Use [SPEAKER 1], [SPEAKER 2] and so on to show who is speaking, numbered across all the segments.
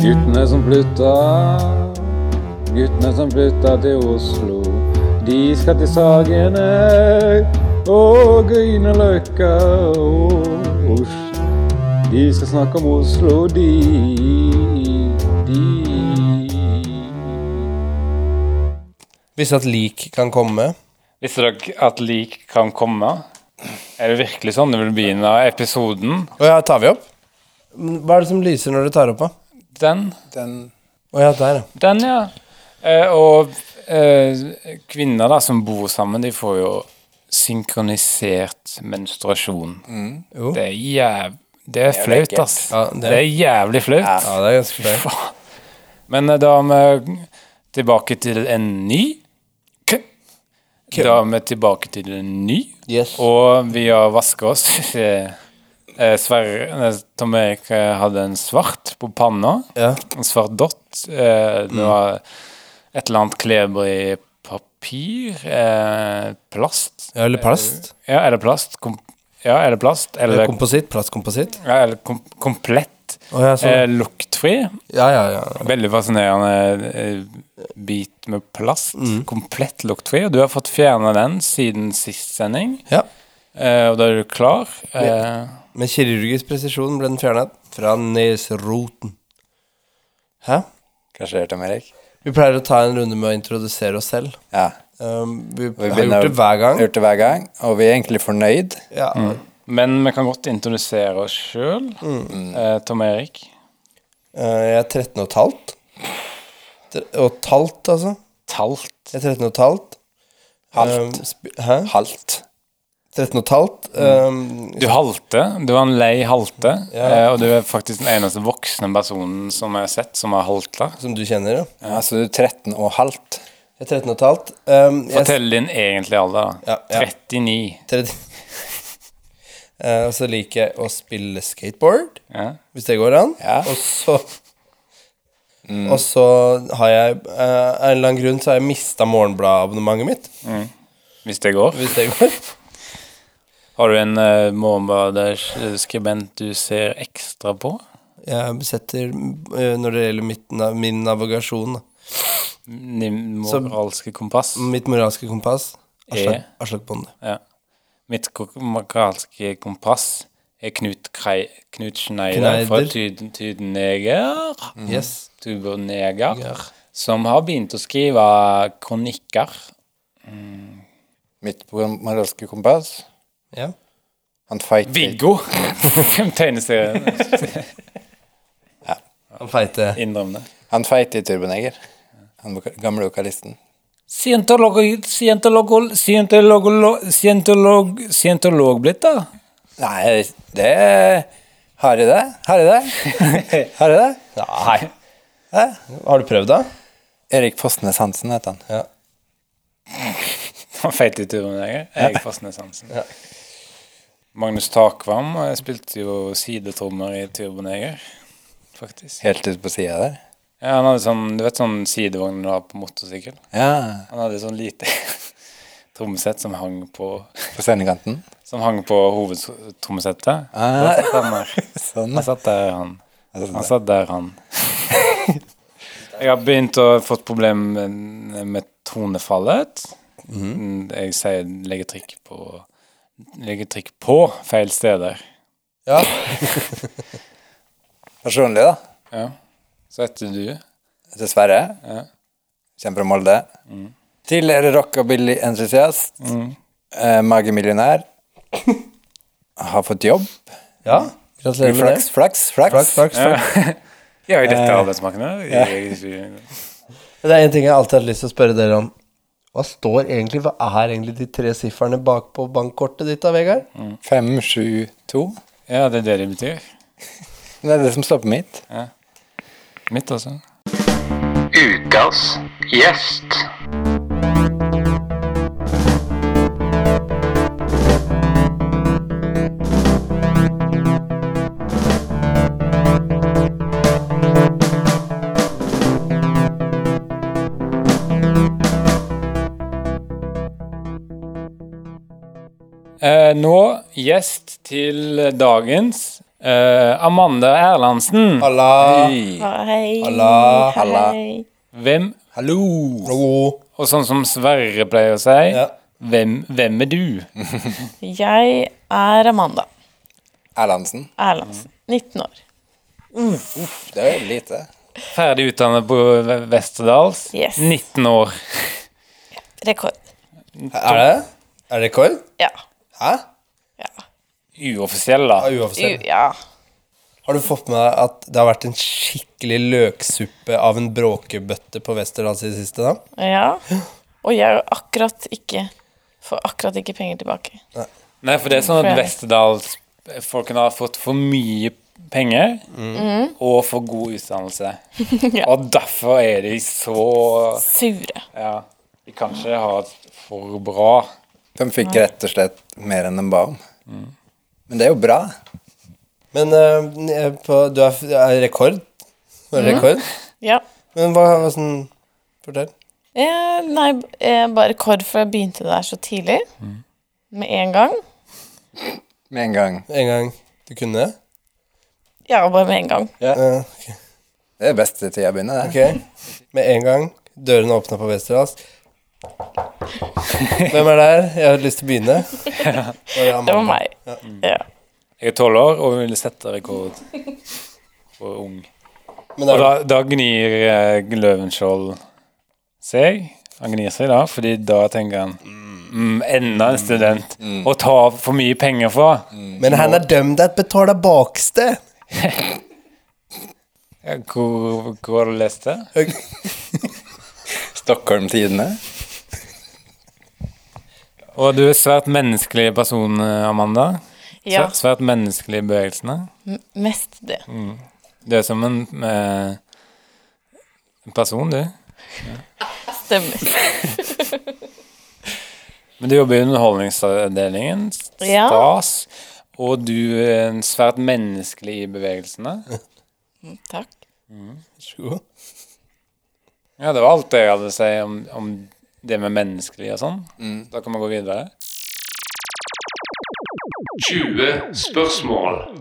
[SPEAKER 1] Guttene som flytta, guttene som flytta til Oslo. De skal til Sagene og Grünerløkka og Oslo. De skal snakke om Oslo, de, de.
[SPEAKER 2] Hvis at lik kan komme.
[SPEAKER 3] Visste dere at lik kan komme? Er det virkelig sånn det vil begynne episoden?
[SPEAKER 2] Å ja, tar vi opp? Hva er det som lyser når du tar opp, da?
[SPEAKER 3] Den?
[SPEAKER 2] Den Å ja, der, ja.
[SPEAKER 3] Den, ja. Eh, og eh, kvinner da, som bor sammen, de får jo synkronisert menstruasjon.
[SPEAKER 2] Jo.
[SPEAKER 3] Det er jæv... Mm. Det er flaut, ass.
[SPEAKER 2] Ja, det-
[SPEAKER 3] det... er jævlig flaut.
[SPEAKER 2] ja. Det er ganske flaut.
[SPEAKER 3] Faen. Men eh, da er vi tilbake til en ny kø. Da er vi tilbake til en ny,
[SPEAKER 2] Yes.
[SPEAKER 3] og vi har vaska oss. Eh, Sverre eh, Tom Erik eh, hadde en svart på panna.
[SPEAKER 2] Ja.
[SPEAKER 3] En svart dott. Eh, det var et eller annet kleber i papir. Eh, plast.
[SPEAKER 2] ja, eller plast.
[SPEAKER 3] Ja, er det plast? Kom ja, er det plast? Eller,
[SPEAKER 2] Eller kompositt. Plastkompositt.
[SPEAKER 3] ja, eller kom komplett.
[SPEAKER 2] Å ja, sånn.
[SPEAKER 3] Eh, luktfri.
[SPEAKER 2] Ja, ja, ja.
[SPEAKER 3] Veldig fascinerende eh, bit med plast. Komplett luktfri. Og du har fått fjerna den siden sist sending,
[SPEAKER 2] ja.
[SPEAKER 3] eh, og da er du klar. Eh,
[SPEAKER 2] Med kirurgisk presisjon ble den fjernet fra nesroten. Hæ?
[SPEAKER 4] Hva skjer, Tom Erik?
[SPEAKER 2] Vi pleier å ta en runde med å introdusere oss selv.
[SPEAKER 4] Ja.
[SPEAKER 2] Um, vi,
[SPEAKER 4] Vi
[SPEAKER 2] har gjort det hver gang.
[SPEAKER 4] Gjort det hver gang, og vi er egentlig fornøyd.
[SPEAKER 2] Ja.
[SPEAKER 3] men vi kan godt introdusere oss sjøl. Eh, Tom Erik.
[SPEAKER 2] Eh, jeg er 13 og et halvt. Tre- Og et halvt, altså.
[SPEAKER 4] Talt.
[SPEAKER 2] Jeg er 13 og et halvt.
[SPEAKER 4] Halvt.
[SPEAKER 2] Um, sp- hæ?
[SPEAKER 4] Halt.
[SPEAKER 2] 13 og et halvt. Um,
[SPEAKER 4] Mm.
[SPEAKER 3] Du halte. Du var en lei halte. eh, Og du er faktisk den eneste voksne personen som jeg har sett som har halta.
[SPEAKER 2] som du kjenner, ja.
[SPEAKER 4] Ja, så du er 13 og halvt.
[SPEAKER 2] Jeg er 13 og et halvt. Um, jeg
[SPEAKER 3] Fortell din egentlige alder. da.
[SPEAKER 2] Ja, ja.
[SPEAKER 3] 39.
[SPEAKER 2] Tredje- Eh, Og så liker jeg å spille skateboard,
[SPEAKER 3] Ja.
[SPEAKER 2] hvis det går an.
[SPEAKER 4] Ja. Mm.
[SPEAKER 2] Og så Og så har jeg eh, Av en eller annen grunn så har jeg mista morgenbladabonnementet mitt,
[SPEAKER 3] Hvis det går.
[SPEAKER 2] hvis det går.
[SPEAKER 3] Har du en uh, morgenbladerskribent du ser ekstra på?
[SPEAKER 2] Jeg setter eh, Når det gjelder mitt, na- min navigasjon, da.
[SPEAKER 3] Din moralske kompass?
[SPEAKER 2] mitt moralske kompass Aslak
[SPEAKER 3] Er?
[SPEAKER 2] Aslak Bonde.
[SPEAKER 3] Ja. Mitt ko- moralske kompass er Knut, Krei, Knut Schneider
[SPEAKER 2] Kneider. Mm.
[SPEAKER 3] fra Tyden- Tydeneger.
[SPEAKER 2] Yes.
[SPEAKER 3] Tuberneger. Som har begynt å skrive kronikker.
[SPEAKER 4] Midt på moralske kompass.
[SPEAKER 2] Ja.
[SPEAKER 4] Han fighter.
[SPEAKER 3] Viggo! Hvem tegneserien?
[SPEAKER 2] Han feite
[SPEAKER 3] Innrøm det.
[SPEAKER 4] Han fighter i Turboneger. Han voka- gamle vokalisten.
[SPEAKER 3] Scientolog... Scientolog... Scientolog... Scientolog... Scientolog blitt, da?
[SPEAKER 4] Nei, det Har jeg det? Har jeg det? Har jeg det?
[SPEAKER 3] Nei.
[SPEAKER 4] Hæ?
[SPEAKER 2] Har du prøvd, da?
[SPEAKER 4] Erik Fosnes Hansen heter han.
[SPEAKER 2] Ja.
[SPEAKER 3] Han feit i turen, jeg. Jeg Fastnes Hansen. Magnus Takvam eh, spilte jo sidetrommer i Turboneger, faktisk.
[SPEAKER 4] Helt ute på sida der.
[SPEAKER 3] Ja, han hadde sånn, du vet sånn sidevogn du har på motorsykkel?
[SPEAKER 4] Ja.
[SPEAKER 3] Han hadde sånn lite trommesett som hang på
[SPEAKER 4] På sendekanten.
[SPEAKER 3] Som hang på hovedtrommesettet.
[SPEAKER 4] Ah.
[SPEAKER 3] Da satt han der.
[SPEAKER 4] Sånn.
[SPEAKER 3] Han satt der, han.
[SPEAKER 4] Han satt
[SPEAKER 3] Han satt der, han. Jeg har begynt å fått problemer med- med tonefallet. Jeg sier legger trykk på Legger trykk på feil steder.
[SPEAKER 2] ja.
[SPEAKER 4] Personlig, da.
[SPEAKER 3] Ja. Så heter du
[SPEAKER 4] Dessverre.
[SPEAKER 3] Ja.
[SPEAKER 4] Kommer fra Molde. Tidligere rockabilly-entusiast. Eh, magemillionær. Har fått jobb.
[SPEAKER 2] ja. Gratulerer med det.
[SPEAKER 4] Flaks, flaks,
[SPEAKER 2] Flaks,
[SPEAKER 4] flaks.
[SPEAKER 2] flaks, flaks.
[SPEAKER 3] Ja, i dette arbeidsmarkedet. Jeg-
[SPEAKER 2] Det er en ting jeg alltid har hatt lyst til å spørre dere om. Hva står egentlig, hva er egentlig de tre sifferne bak på bankkortet ditt da, Vegard?
[SPEAKER 4] Fem, sju, to.
[SPEAKER 3] Ja, det er det det betyr.
[SPEAKER 4] Det er det som står på mitt.
[SPEAKER 3] Mitt, altså.
[SPEAKER 5] Ukas gjest.
[SPEAKER 3] Eh, nå gjest til dagens Eh, Amanda Erlandsen.
[SPEAKER 2] Halla!
[SPEAKER 6] Hei.
[SPEAKER 2] Halla,
[SPEAKER 4] halla.
[SPEAKER 6] Hei.
[SPEAKER 3] Hvem
[SPEAKER 4] Hallo!
[SPEAKER 2] Hallo!
[SPEAKER 3] Og sånn som Sverre pleier å si
[SPEAKER 2] Ja.
[SPEAKER 3] hvem, hvem er du?
[SPEAKER 6] Jeg er Amanda
[SPEAKER 4] Erlandsen.
[SPEAKER 6] Erlandsen. 19 år.
[SPEAKER 4] Det er jo lite.
[SPEAKER 3] Ferdig utdannet på Ve- Vesterdals.
[SPEAKER 6] Yes.
[SPEAKER 3] 19 år.
[SPEAKER 6] Rekord.
[SPEAKER 2] Er det? Er det rekord?
[SPEAKER 6] Ja.
[SPEAKER 2] Hæ?
[SPEAKER 6] Ja.
[SPEAKER 3] Uoffisiell, da.
[SPEAKER 2] Ja, uoffisiell.
[SPEAKER 6] U- ja.
[SPEAKER 2] Har du fått med deg at det har vært en skikkelig løksuppe av en bråkebøtte på Westerdals i det siste? da?
[SPEAKER 6] ja. Og jeg er jo akkurat ikke Får akkurat ikke penger tilbake.
[SPEAKER 3] Nei, for det er sånn at
[SPEAKER 6] Fredrik.
[SPEAKER 3] Vesterdalsfolkene har fått for mye penger og for god utdannelse.
[SPEAKER 6] Mm. Ja.
[SPEAKER 3] Og derfor er de så
[SPEAKER 6] Sure.
[SPEAKER 3] Ja. De kan ikke ha det for bra.
[SPEAKER 4] De fikk rett og slett mer enn de ba om. Men det er jo bra.
[SPEAKER 2] Men eh, på, du er, er rekord? Du
[SPEAKER 6] Mhm.
[SPEAKER 2] er rekord?
[SPEAKER 6] Ja.
[SPEAKER 2] Men hva, hva sånn Fortell.
[SPEAKER 6] Eh, nei, b- eh, bare rekord, for jeg begynte der så tidlig. Med en gang.
[SPEAKER 4] Med en gang.
[SPEAKER 2] En gang du kunne?
[SPEAKER 6] Ja, bare med en gang.
[SPEAKER 2] Eh,
[SPEAKER 4] Det er beste tida å begynne, det.
[SPEAKER 2] ok. Med en gang. Dørene åpna på Westerdals. Hvem er der? Jeg har lyst til å begynne.
[SPEAKER 6] Det var meg. Ja.
[SPEAKER 3] Jeg er tolv år og vil sette rekord for ung.
[SPEAKER 2] Men
[SPEAKER 3] Og
[SPEAKER 2] er,
[SPEAKER 3] da, da gnir eh, Løvenskiold seg. Han gnir seg da, fordi da tenker han mm, Mm. Enda en student å ta for mye penger fra.
[SPEAKER 2] men han er dømt til å betale baksted.
[SPEAKER 3] Ja, Hvor, hvor har du lest det?
[SPEAKER 4] Stockholm-tidene.
[SPEAKER 3] Og du er svært menneskelig person, eh, Amanda.
[SPEAKER 6] ja.
[SPEAKER 3] Svært, svært menneskelig i bevegelsene.
[SPEAKER 6] m- Mest det.
[SPEAKER 3] Du er som en eh, en person, du.
[SPEAKER 6] Stemmer.
[SPEAKER 3] Men du jobber i Underholdningsavdelingen,
[SPEAKER 6] Ja.
[SPEAKER 3] stas. Og du er en svært menneskelig i bevegelsene.
[SPEAKER 6] Takk.
[SPEAKER 3] Ja, det var alt det jeg hadde å si om, om det med menneskelig og sånn.
[SPEAKER 4] Mm.
[SPEAKER 3] Da kan vi gå videre.
[SPEAKER 5] 20 spørsmål.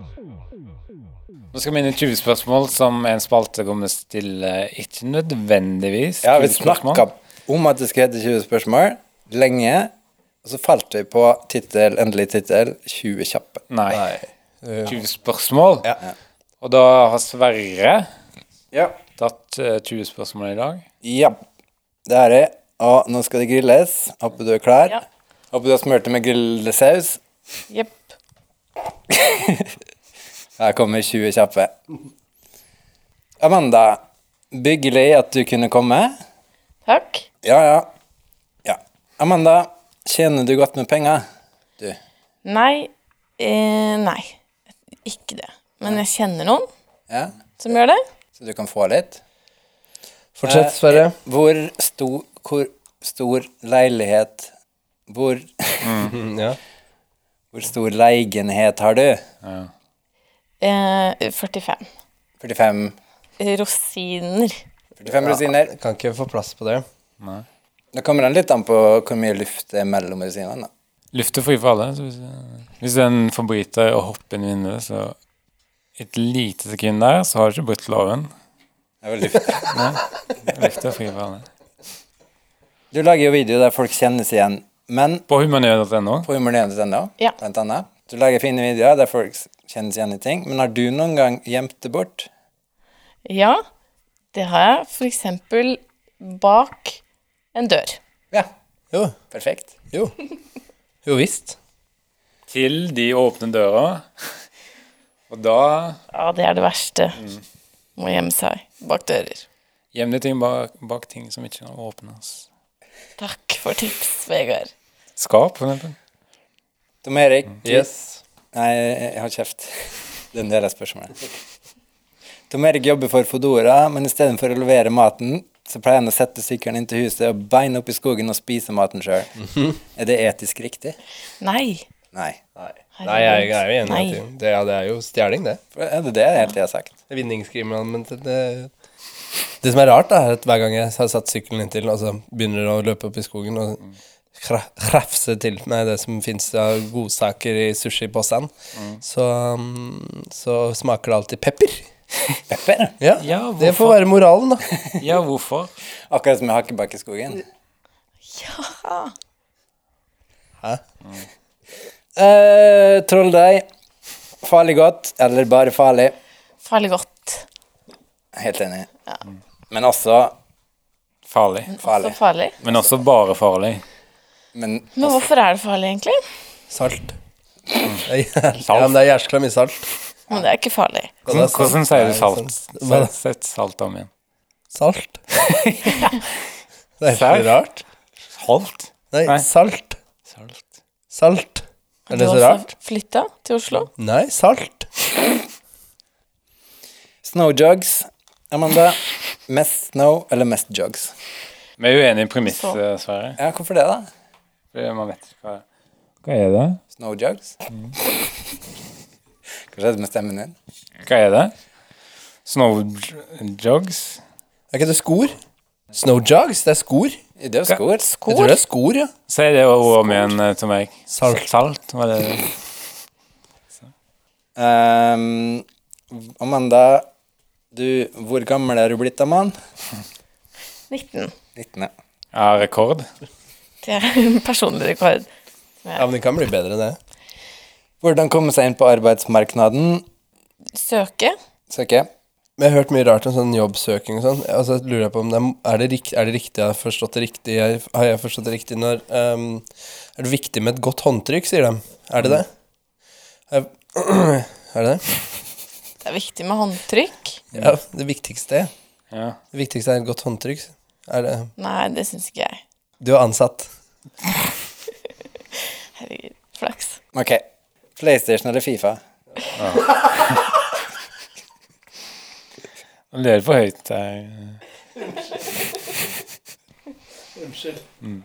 [SPEAKER 3] Nå skal vi inn i 20 spørsmål, som er en spalte kommer vi stille ikke nødvendigvis.
[SPEAKER 4] Ja, vi
[SPEAKER 3] 20 spørsmål.
[SPEAKER 4] snakka om at det skulle hete 20 spørsmål lenge. Og så falt vi på tittel, endelig tittel 20 kjappe.
[SPEAKER 3] Nei. 20 spørsmål. Og da har Sverre
[SPEAKER 4] Ja.
[SPEAKER 3] tatt eh, 20 spørsmål i dag.
[SPEAKER 4] ja. Det er det. Og nå skal det grilles. Håper du er klar.
[SPEAKER 6] Ja.
[SPEAKER 4] Håper du har smurt det med grillesaus.
[SPEAKER 6] Jepp.
[SPEAKER 4] Her kommer 20 kjappe. Amanda, byggelig at du kunne komme.
[SPEAKER 6] Takk.
[SPEAKER 4] Ja, ja. ja. Amanda, tjener du godt med penger? Du.
[SPEAKER 6] Nei. Eh, nei. Ikke det. Men jeg kjenner noen
[SPEAKER 4] Ja?
[SPEAKER 6] som gjør det.
[SPEAKER 4] Så du kan få litt? Eh,
[SPEAKER 2] Fortsett, Sverre.
[SPEAKER 4] Hvor stor, hvor stor leilighet hvor,
[SPEAKER 2] ja.
[SPEAKER 4] hvor stor leigenhet har du?
[SPEAKER 6] Eh, 45.
[SPEAKER 4] 45,
[SPEAKER 6] Rosiner.
[SPEAKER 4] 45 rosiner.
[SPEAKER 2] Eh, Kan ikke få plass på det.
[SPEAKER 4] Da kommer den litt an på hvor mye luft det er mellom rosinene. da.
[SPEAKER 3] Luft er fri for alle. Så hvis, eh, hvis en forbryter og hopper inn i vinduet, så et lite sekund der, så har du ikke brutt loven.
[SPEAKER 4] Det er vel luft.
[SPEAKER 3] Luft er fri for alle.
[SPEAKER 4] Du lager jo video der folk kjennes igjen, men
[SPEAKER 3] På humanø.no.
[SPEAKER 4] på humornyhetene.no,
[SPEAKER 6] Ja.
[SPEAKER 4] blant annet. Du lager fine videoer der folk kjennes igjen i ting, men har du noen gang gjemt det bort?
[SPEAKER 6] Ja, det har jeg. For eksempel bak en dør.
[SPEAKER 4] Ja,
[SPEAKER 2] Jo.
[SPEAKER 4] perfekt.
[SPEAKER 2] Jo. Jo visst.
[SPEAKER 3] Til de åpner døra. Og da
[SPEAKER 6] Ja, det er det verste.
[SPEAKER 2] Mm.
[SPEAKER 6] Må gjemme seg bak dører.
[SPEAKER 3] Gjem deg ting bak, bak ting som ikke kan åpnes.
[SPEAKER 6] Takk for tips, Vegard.
[SPEAKER 3] Skap, for eksempel.
[SPEAKER 4] Tom Erik.
[SPEAKER 2] Mm. Yes.
[SPEAKER 4] Nei, jeg har kjeft. Det er en del av spørsmålet. Tom Erik jobber for Fodora, men istedenfor å levere maten, så pleier han å sette sykkelen inn til huset og beine opp i skogen og spise maten sjøl. Er det etisk riktig?
[SPEAKER 6] Nei.
[SPEAKER 4] Nei.
[SPEAKER 2] Mhm. Nei, jeg, jeg er jo enig. i
[SPEAKER 6] Nei.
[SPEAKER 2] at Det, ja, det er jo stjeling, det.
[SPEAKER 4] For er det det jeg egentlig har sagt?
[SPEAKER 2] Det er Vinningskriminal, men det, det Det som er rart, da, er at hver gang jeg har satt sykkelen inntil, og så begynner det å løpe opp i skogen og krafse til med det som fins av godsaker i sushiposen, så, mm, så smaker det alltid pepper.
[SPEAKER 4] Pepper?
[SPEAKER 2] Ja,
[SPEAKER 3] Ja,
[SPEAKER 2] Det
[SPEAKER 3] hvorfor?
[SPEAKER 2] får være moralen, da.
[SPEAKER 3] Ja, hvorfor?
[SPEAKER 4] Akkurat som i Hakkebakkeskogen. Eh, Trolldeig. Farlig godt, eller bare farlig.
[SPEAKER 6] Farlig godt.
[SPEAKER 4] Helt enig. Men også
[SPEAKER 3] Farlig.
[SPEAKER 6] Så
[SPEAKER 4] farlig.
[SPEAKER 6] farlig.
[SPEAKER 3] Men også bare farlig.
[SPEAKER 4] Men
[SPEAKER 6] Men hvorfor er det farlig, egentlig?
[SPEAKER 2] Salt. Det er jævlig- Ja, men det er jæskla mye salt.
[SPEAKER 6] Men det er ikke farlig.
[SPEAKER 2] Og det er
[SPEAKER 3] Hvordan,
[SPEAKER 2] salt.
[SPEAKER 3] hvordan sier du
[SPEAKER 2] Nei,
[SPEAKER 3] salt?
[SPEAKER 2] sant. Hva da?
[SPEAKER 3] Sett- Sett salt om igjen.
[SPEAKER 2] Salt. Det er
[SPEAKER 3] Salt?
[SPEAKER 2] ikke rart.
[SPEAKER 3] Salt? Nei.
[SPEAKER 2] Nei, salt.
[SPEAKER 3] Salt.
[SPEAKER 2] Salt. Er det så rart?
[SPEAKER 6] Flytta til Oslo.
[SPEAKER 2] Nei, salt.
[SPEAKER 4] snowjogs, Amanda. Mest snow eller mest jogs?
[SPEAKER 3] Vi er uenige i premiss,
[SPEAKER 6] Så.
[SPEAKER 3] eh, Sverre.
[SPEAKER 4] Ja, hvorfor det, da?
[SPEAKER 3] Fordi Man vet ikke hva Hva er det?
[SPEAKER 4] Snowjogs? Hva skjedde med stemmen din?
[SPEAKER 3] Hva er det? Snowjogs?
[SPEAKER 2] Er ikke det skor? Snowjogs, det er skor.
[SPEAKER 4] Det er jo skor.
[SPEAKER 2] Jeg tror det er skor, ja.
[SPEAKER 3] Si det ordet om igjen eh, til meg.
[SPEAKER 2] Salt.
[SPEAKER 3] Salt, var det det?
[SPEAKER 4] Ehm, Amanda, du, hvor gammel er du blitt, Aman?
[SPEAKER 6] 19.
[SPEAKER 4] 19, ja.
[SPEAKER 3] Ja, rekord.
[SPEAKER 6] Det er en personlig rekord.
[SPEAKER 2] ja. Men det kan bli bedre, det.
[SPEAKER 4] Hvordan komme seg inn på arbeidsmarkedet?
[SPEAKER 6] Søke.
[SPEAKER 4] Søke.
[SPEAKER 2] Men jeg har hørt mye rart om sånn jobbsøking og sånn. Og så lurer jeg på om det er, er, det riktig, er det riktig, har jeg forstått det riktig, Jeg- har jeg forstått det riktig når ehm, Er det viktig med et godt håndtrykk, sier de. Er det det? Er, er det det?
[SPEAKER 6] Det er viktig med håndtrykk.
[SPEAKER 2] Ja, det viktigste.
[SPEAKER 3] Ja.
[SPEAKER 2] Det viktigste er et godt håndtrykk. Er det
[SPEAKER 6] Nei, det syns ikke jeg.
[SPEAKER 2] Du er ansatt.
[SPEAKER 6] Herregud. Flaks.
[SPEAKER 4] Ok. PlayStation eller Fifa?
[SPEAKER 3] Nå ler du for høyt eh. der.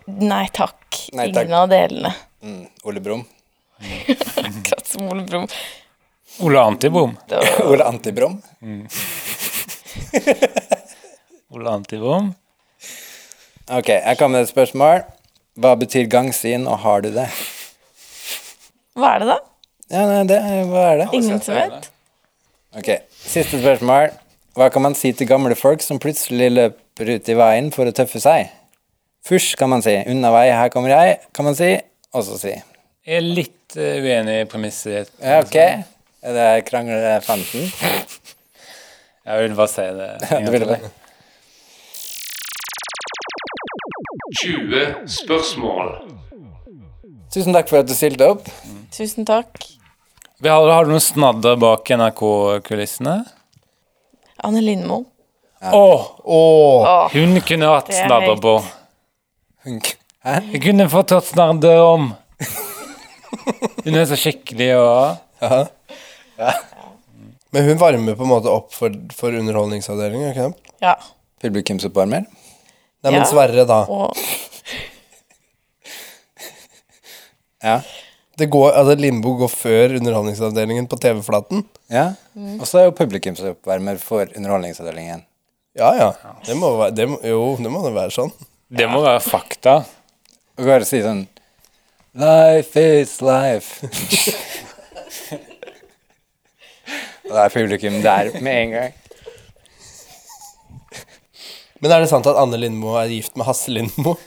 [SPEAKER 6] Nei takk.
[SPEAKER 4] Nei, takk.
[SPEAKER 6] Ingen av delene.
[SPEAKER 4] Mm, Ole Brumm.
[SPEAKER 6] Akkurat som Ole Brumm.
[SPEAKER 3] Ole Antibom.
[SPEAKER 6] Det var-
[SPEAKER 4] Ole Antibrom.
[SPEAKER 3] Ole Antibom.
[SPEAKER 4] Ok, jeg kommer med et spørsmål. Hva betyr gangsyn, og har du det?
[SPEAKER 6] Hva er det, da?
[SPEAKER 4] Ja, nei, det, hva er det?
[SPEAKER 6] Ingen som vet?
[SPEAKER 4] Ok, siste spørsmål. Hva kan man si til gamle folk som plutselig løper ut i veien for å tøffe seg? Fysj, kan man si. Unna vei, her kommer jeg, kan man si. Og så si.
[SPEAKER 3] Jeg er litt eh, uenig i premisset.
[SPEAKER 4] Ja, ok. Er det kranglefanten?
[SPEAKER 3] Jeg vil bare si det.
[SPEAKER 4] Du ville det.
[SPEAKER 5] 20 spørsmål.
[SPEAKER 4] Tusen takk for at du stilte opp.
[SPEAKER 6] Tusen takk.
[SPEAKER 3] Vi har, har du noen snadder bak NRK-kulissene?
[SPEAKER 6] Anne Lindmo.
[SPEAKER 3] Å!
[SPEAKER 6] Åh.
[SPEAKER 3] Hun kunne hatt
[SPEAKER 6] Det er
[SPEAKER 3] snadder
[SPEAKER 6] helt-
[SPEAKER 3] på.
[SPEAKER 4] Hæ?
[SPEAKER 3] Jeg kunne fått hatt snadder om. Hun er så skikkelig og
[SPEAKER 2] Men hun varmer på en måte opp for, for Underholdningsavdelingen, ikke sant?
[SPEAKER 6] Ja.
[SPEAKER 4] Publikumsoppvarmer?
[SPEAKER 2] Nei, men
[SPEAKER 6] Ja.
[SPEAKER 2] Sverre, da.
[SPEAKER 6] Og
[SPEAKER 4] Ja.
[SPEAKER 2] Det går, altså Limbo går før Underholdningsavdelingen på TV-flaten.
[SPEAKER 4] ja. Og så er jo publikumsoppvarmer for Underholdningsavdelingen.
[SPEAKER 2] Ja, ja. Det må være, det må, jo, det må det være sånn.
[SPEAKER 3] Det må være fakta.
[SPEAKER 4] Og bare si sånn Life is life. Og da er publikum der med en gang.
[SPEAKER 2] Men er det sant at Anne Lindmo er gift med Hasse Lindmo?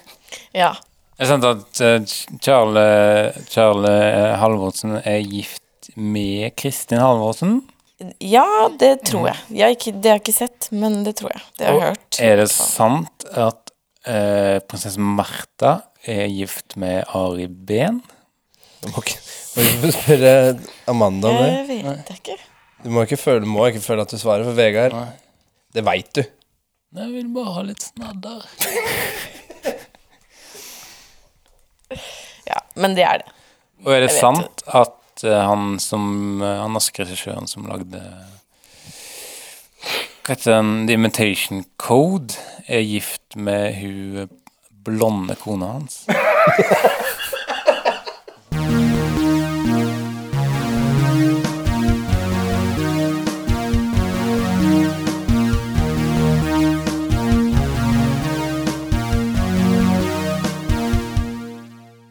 [SPEAKER 6] ja.
[SPEAKER 3] Det er sant at eh, Ch- Charle, Charle eh, Halvorsen er gift med Kristin Halvorsen.
[SPEAKER 6] Ja, det tror jeg. jeg har ikke, det har jeg ikke sett, men det tror jeg. Det har jeg hørt.
[SPEAKER 3] Er det sant at eh, prinsesse Märtha er gift med Ari Behn?
[SPEAKER 2] Du må ikke, du må ikke spørre Amanda om det.
[SPEAKER 6] Jeg vet jeg ikke.
[SPEAKER 2] Du må ikke føle, må ikke føle at du svarer for Vegard. Det veit du.
[SPEAKER 3] Jeg vil bare ha litt snadder.
[SPEAKER 6] Ja, men det er det.
[SPEAKER 3] Og er det
[SPEAKER 6] Jeg vet
[SPEAKER 3] sant at eh, han som eh, Han norske regissøren som lagde Hva heter den The Imitation Code, er gift med hun eh, blonde kona hans?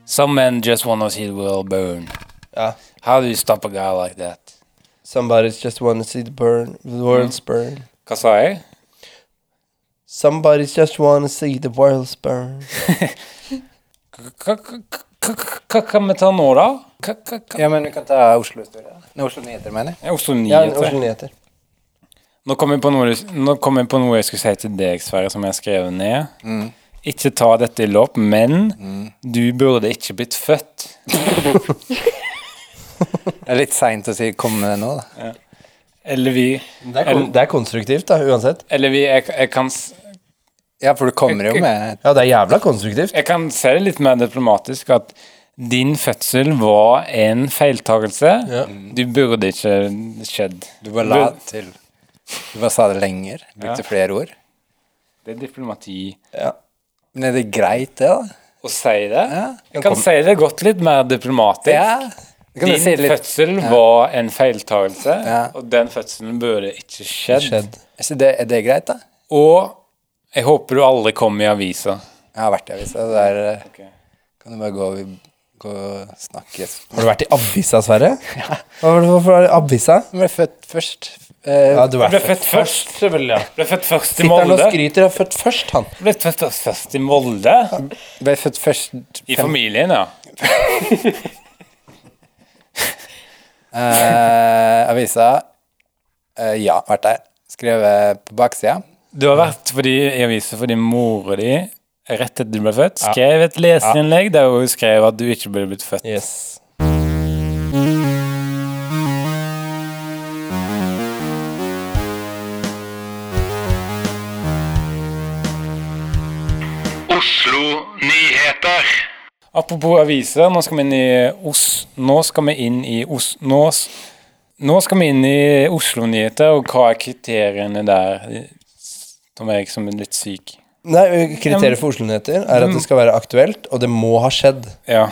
[SPEAKER 3] Some men just wanna see the world burn.
[SPEAKER 2] Ja.
[SPEAKER 3] How do you stop a guy like that?
[SPEAKER 2] Somebody's just wanna see the burn, the world's burn.
[SPEAKER 3] Hva sa jeg?
[SPEAKER 2] Somebody's just wanna see the world's burn.
[SPEAKER 3] Hva- hva- hva- Hva kan vi ta nå, da? Hva- hva- hva-
[SPEAKER 4] Ja, men du kan ta Oslo-historie. Nei, Oslo Nyheter, mener jeg.
[SPEAKER 3] Ja, Oslo
[SPEAKER 2] Ja,
[SPEAKER 3] Nyheter.
[SPEAKER 2] Oslo Nyheter.
[SPEAKER 3] Nå kom jeg på noe, nå kom jeg, på noe jeg skulle si til deg, Sverre, som jeg har skrevet ned.
[SPEAKER 4] Mm.
[SPEAKER 3] Ikke ta dette i lopp, men du burde ikke blitt født.
[SPEAKER 4] Det er litt seint å si 'kom med det nå', da.
[SPEAKER 3] Eller vi
[SPEAKER 2] Det er, kon det er konstruktivt, da, uansett.
[SPEAKER 3] Eller vi Jeg, jeg, kan, s-
[SPEAKER 4] Ja, for du kommer jo med
[SPEAKER 2] Ja, det er jævla konstruktivt.
[SPEAKER 3] jeg kan si det litt mer diplomatisk at din fødsel var en feiltagelse. Du burde ikke skjedd.
[SPEAKER 4] Du bare la til Du bare sa det lenger. Brukte flere ord.
[SPEAKER 3] Det er diplomati
[SPEAKER 2] Ja.
[SPEAKER 4] Men er det greit, det, da?
[SPEAKER 3] å si det.
[SPEAKER 4] Ja.
[SPEAKER 3] Jeg kan si det godt litt mer diplomatisk.
[SPEAKER 4] Ja. Det kan du
[SPEAKER 3] Din
[SPEAKER 4] si litt.
[SPEAKER 3] fødsel var en feiltagelse,
[SPEAKER 4] Ja.
[SPEAKER 3] og den fødselen burde ikke skjedd.
[SPEAKER 2] Skjedd.
[SPEAKER 4] Så det, er det greit, da?
[SPEAKER 3] Og jeg håper du aldri kom i avisa.
[SPEAKER 4] Jeg har vært i avisa. så Der eh, kan du bare gå, og- gå og snakke.
[SPEAKER 2] Har du vært i avisa, Sverre? Ja. Hvorfor var det avisa?
[SPEAKER 4] Du ble født først. Eh,
[SPEAKER 2] Ja, du er
[SPEAKER 3] Ble
[SPEAKER 2] født.
[SPEAKER 3] født først, selvfølgelig. Ble født først i
[SPEAKER 2] Sitter han og
[SPEAKER 3] Molde.
[SPEAKER 2] skryter av født først, han.
[SPEAKER 3] Ble født først i Molde.
[SPEAKER 4] ble født først
[SPEAKER 3] I familien, ja.
[SPEAKER 4] eh, avisa. Eh, ja, vært der. Skrevet på baksida.
[SPEAKER 3] Du har vært fordi, i avisa fordi mora di rett etter du ble født, skrev et leserinnlegg der hun skrev at du ikke burde blitt født.
[SPEAKER 2] Yes.
[SPEAKER 5] Oslo nyheter.
[SPEAKER 3] Apropos aviser, nå skal vi inn i Os... Nå skal vi inn i Os... Nå, s- nå skal vi inn i Oslo-nyheter, og hva er kriteriene der? Tom Erik som er litt syk.
[SPEAKER 2] Nei, kriteriet for Oslo Nyheter er
[SPEAKER 4] Mm.
[SPEAKER 2] at det skal være aktuelt, og det må ha skjedd.
[SPEAKER 3] Ja.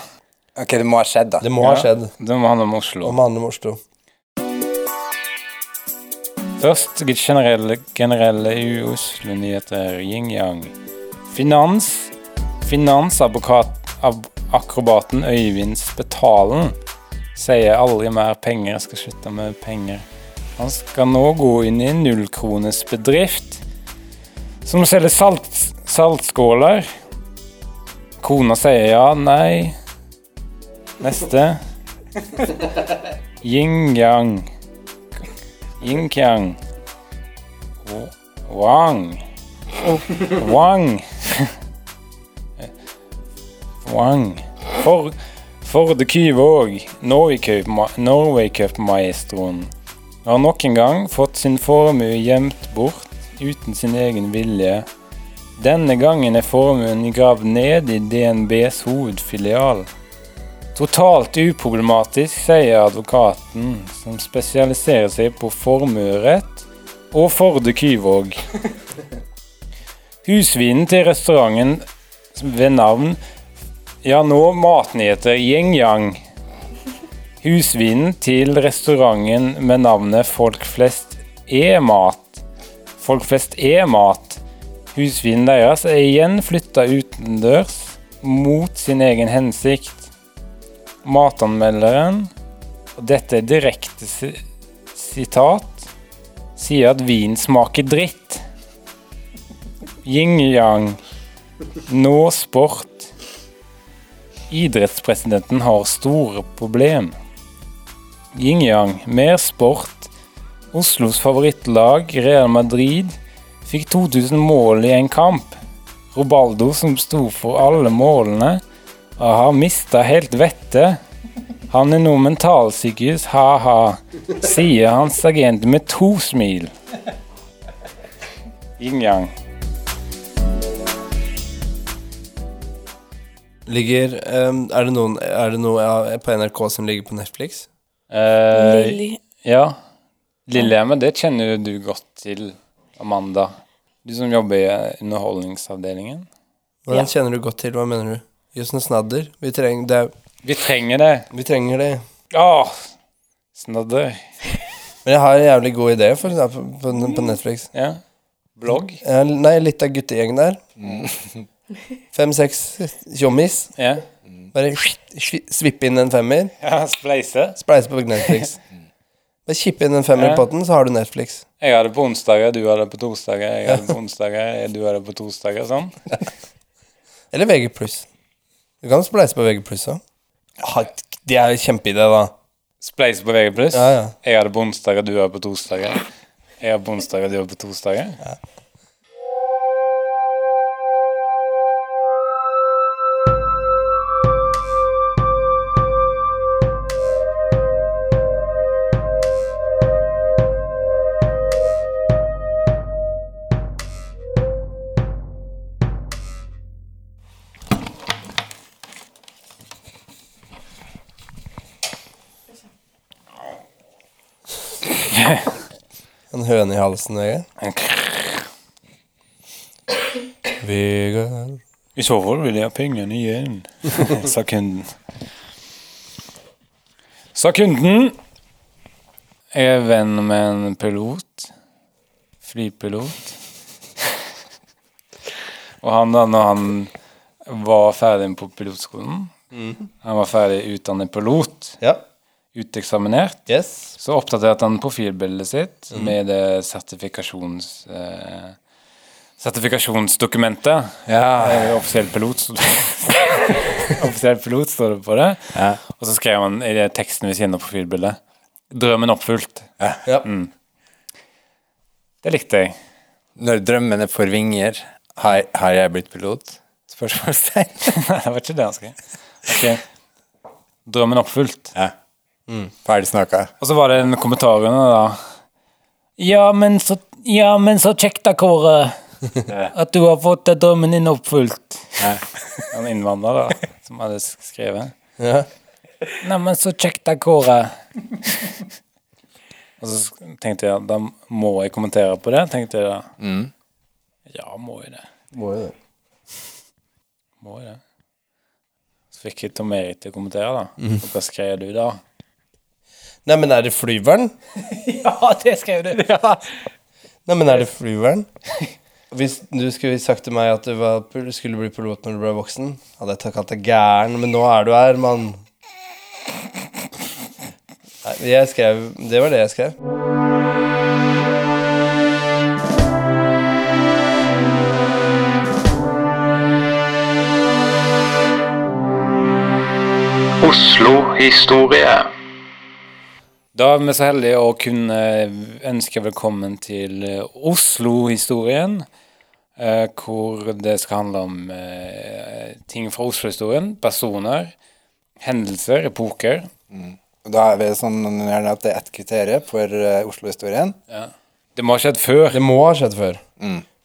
[SPEAKER 4] Ok, det må ha skjedd, da.
[SPEAKER 2] Det må ha skjedd.
[SPEAKER 3] Det må handle om Oslo.
[SPEAKER 2] Om det handler om Oslo.
[SPEAKER 3] Først generelle, generelle i Oslo-nyheter yin-yang. Finans, Finansakrobaten Øyvind Spetalen sier aldri mer penger, skal slutte med penger. Han skal nå gå inn i en nullkronesbedrift som selger salt, saltskåler. Kona sier ja, nei. Neste. Yin-yang. Yin-kyang. Wang. Wang. Wang. For, Forde Kyvåg, Norway-cup- Norway-cupmaestroen, har nok en gang fått sin formue gjemt bort uten sin egen vilje. Denne gangen er formuen gravd ned i DNBs hovedfilial. Totalt uproblematisk, sier advokaten, som spesialiserer seg på formuerett og Forde Kyvåg. Husvinen til restauranten ved navn Ja, nå matnyheter Yin-Yang. Husvinen til restauranten med navnet Folk flest er mat. Folk flest er mat. Husvinen deres er igjen flytta utendørs mot sin egen hensikt matanmelderen, og dette er direkte si- sitat, sier at vin smaker dritt. Yin-yang, nå sport. Idrettspresidenten har store problem. Yin-yang, mer sport. Oslos favorittlag, Real Madrid, fikk 2000 mål i en kamp. Robaldo, som sto for alle målene, og har mista helt vettet. Han er nå mentalsykehus, ha-ha, sier hans agent med to smil. Yin-yang.
[SPEAKER 2] Ligger ehm, Er det noen Er det noe ja, på NRK som ligger på Netflix?
[SPEAKER 3] Eh,
[SPEAKER 6] Lilly.
[SPEAKER 3] ja. Lillehammer, det kjenner jo du godt til, Amanda. Du som jobber i Underholdningsavdelingen.
[SPEAKER 2] Hvordan kjenner du godt til? Hva mener du? Jussen og snadder? Vi trenger det. er-
[SPEAKER 3] Vi trenger det.
[SPEAKER 2] Vi trenger det.
[SPEAKER 3] Åh, snadder.
[SPEAKER 2] Men jeg har en jævlig god idé for, på, på, på Netflix.
[SPEAKER 3] Ja. Blogg.
[SPEAKER 2] Jeg har- Nei, litt av guttegjengen der. Fem-seks tjommis.
[SPEAKER 3] Ja.
[SPEAKER 2] Bare svi- svippe inn en femmer,
[SPEAKER 3] Ja, spleise.
[SPEAKER 2] spleise på Netflix. Bare kippe inn en femmer i
[SPEAKER 3] Ja.
[SPEAKER 2] potten, så har du Netflix.
[SPEAKER 3] Jeg har det på onsdager, du har det på torsdager, jeg har det på onsdager, du har det på torsdager, sånn.
[SPEAKER 2] Eller VG+. Du kan spleise på VG+, også. Ja, det er jo kjempeidé, da.
[SPEAKER 3] Spleise på VG+.
[SPEAKER 2] Ja, ja.
[SPEAKER 3] Jeg har det på onsdager, du har det på torsdager. Jeg har det på onsdager, du har det på torsdager.
[SPEAKER 2] En høne i halsen, Vegard. Vegard
[SPEAKER 3] I så fall vil jeg ha pengene igjen, sa kunden. Sa kunden. Jeg er venn med en pilot. Flypilot. Og han da, når han var ferdig på pilotskolen
[SPEAKER 2] Mm.
[SPEAKER 3] Han var ferdig utdannet pilot,
[SPEAKER 2] Ja.
[SPEAKER 3] uteksaminert.
[SPEAKER 2] Yes.
[SPEAKER 3] Så oppdaterte han profilbildet sitt med det sertifikasjons... Eh, sertifikasjonsdokumentet. Ja, jeg er offisiell pilot. så- offisiell pilot står det på det. Og så skrev han i det teksten ved siden av profilbildet 'Drømmen oppfylt'. Mm.
[SPEAKER 2] Ja.
[SPEAKER 3] Det likte jeg.
[SPEAKER 4] Når drømmene får vinger, har, har jeg blitt pilot? Spørsmålstegn.
[SPEAKER 3] Nei, det var ikke det han skrev. Ok. 'Drømmen oppfylt'.
[SPEAKER 4] Ja. Ferdig snakka.
[SPEAKER 3] Og så var det en kommentar under da. Ja, men så, ja, men så kjekt da, Kåre. At du har fått drømmen din oppfylt. En innvandrer da, som hadde skrevet.
[SPEAKER 2] Ja.
[SPEAKER 3] Nei, men så kjekt da, Kåre. Og så sk- tenkte jeg, da må jeg kommentere på det, tenkte jeg da. Ja, må jeg det.
[SPEAKER 1] Må jo det.
[SPEAKER 3] Må jeg det. Så fikk jeg Tom Erik til å kommentere da. Og hva skrev du da?
[SPEAKER 2] Nei, men er det flyveren?
[SPEAKER 3] Ja, det skrev du. Ja.
[SPEAKER 2] Nei, men er det flyveren? Hvis du skulle sagt til meg at du var, pil- skulle bli pilot når du ble voksen, hadde jeg takket at det er gæren, men nå er du her, mann. Nei, jeg skrev Det var det jeg skrev.
[SPEAKER 5] Oslo historie.
[SPEAKER 3] Da er vi så heldige å kunne ønske velkommen til eh, Oslo-historien. eh, Hvor det skal handle om eh, ting fra Oslo-historien. Personer, hendelser, epoker.
[SPEAKER 4] Da er vi sånn gjerne at det er ett kriterium for eh, Oslo-historien.
[SPEAKER 3] Det må ha skjedd før.
[SPEAKER 2] Det må ha skjedd før.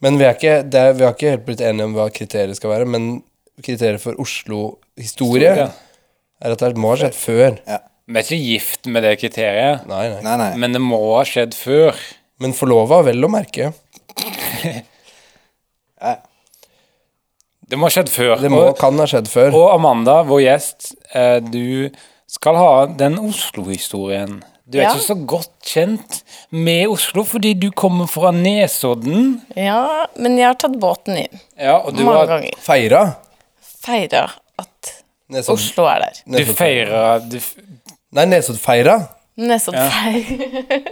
[SPEAKER 2] Men vi, er ikke, det er, vi har ikke helt blitt enige om hva kriteriet skal være. Men kriteriet for Oslo-historie
[SPEAKER 3] Historie.
[SPEAKER 2] er at det må ha skjedd før.
[SPEAKER 3] Vi er ikke gift med det kriteriet,
[SPEAKER 2] Nei, nei.
[SPEAKER 4] Nei, nei.
[SPEAKER 3] men det må ha skjedd før.
[SPEAKER 2] Men forlova, vel å merke.
[SPEAKER 3] Det må ha skjedd før.
[SPEAKER 2] Det må,
[SPEAKER 3] Og-
[SPEAKER 2] kan ha skjedd før.
[SPEAKER 3] Og Amanda, vår gjest, eh, du skal ha den Oslo-historien. Du er
[SPEAKER 6] Ja.
[SPEAKER 3] ikke så godt kjent med Oslo fordi du kommer fra Nesodden.
[SPEAKER 6] Ja, men jeg har tatt båten inn
[SPEAKER 3] Ja, og du,
[SPEAKER 6] mange
[SPEAKER 3] har,
[SPEAKER 6] ganger.
[SPEAKER 2] Feira.
[SPEAKER 6] Feira at
[SPEAKER 2] Nesod-
[SPEAKER 6] Oslo er der.
[SPEAKER 3] du
[SPEAKER 2] Nesodfeira.
[SPEAKER 3] feirer du, f-
[SPEAKER 2] Nei, Nesoddfeira.
[SPEAKER 6] Nesten feir.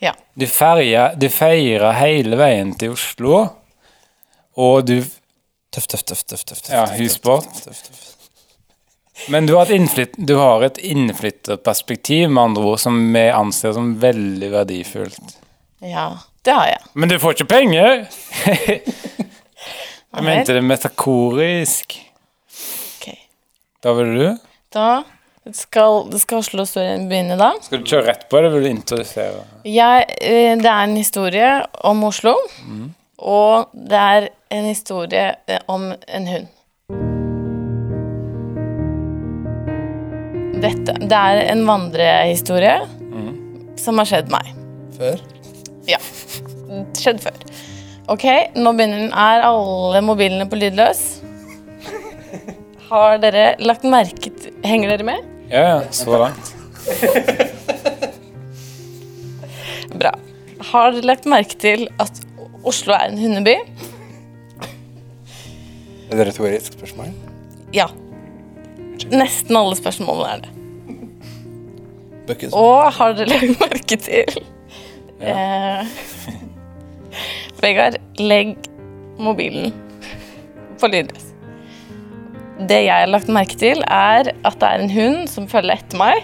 [SPEAKER 6] ja.
[SPEAKER 3] du, feirer, du feirer hele veien til Oslo. Og du
[SPEAKER 2] Tøff, tøff, tøff, tøff. tøff, tøff
[SPEAKER 3] Ja,
[SPEAKER 2] tøff,
[SPEAKER 3] husbåt.
[SPEAKER 2] tøff, tøff, tøff.
[SPEAKER 3] Men du har et, innflyt, du har et innflytterperspektiv, med andre ord, som vi anser som veldig verdifullt.
[SPEAKER 6] ja, det har jeg.
[SPEAKER 3] Men du får ikke penger!
[SPEAKER 6] Ja,
[SPEAKER 3] Jeg mente
[SPEAKER 6] vel.
[SPEAKER 3] det metakorisk.
[SPEAKER 6] Ok.
[SPEAKER 3] Da vil du?
[SPEAKER 6] Da skal, skal Oslo-historien begynne, da.
[SPEAKER 3] Skal du kjøre rett på, eller vil du introdusere?
[SPEAKER 6] Jeg, eh, det er en historie om Oslo.
[SPEAKER 3] Mm.
[SPEAKER 6] Og det er en historie eh, om en hund. Dette, det er en vandrehistorie
[SPEAKER 3] Mm.
[SPEAKER 6] som har skjedd meg.
[SPEAKER 2] Før.
[SPEAKER 6] Ja. Skjedd før. Ok, nå begynner den. Er alle mobilene på lydløs? Har dere lagt merke til Henger dere med?
[SPEAKER 3] Ja, ja, så langt.
[SPEAKER 6] Bra. Har dere lagt merke til at Oslo er en hundeby?
[SPEAKER 4] Er det retorisk spørsmål?
[SPEAKER 6] Ja. Nesten alle spørsmålene er det.
[SPEAKER 2] Bucket.
[SPEAKER 6] Og har dere lagt merke til eh, Vegard, legg mobilen på lydløs. Det jeg har lagt merke til, er at det er en hund som følger etter meg.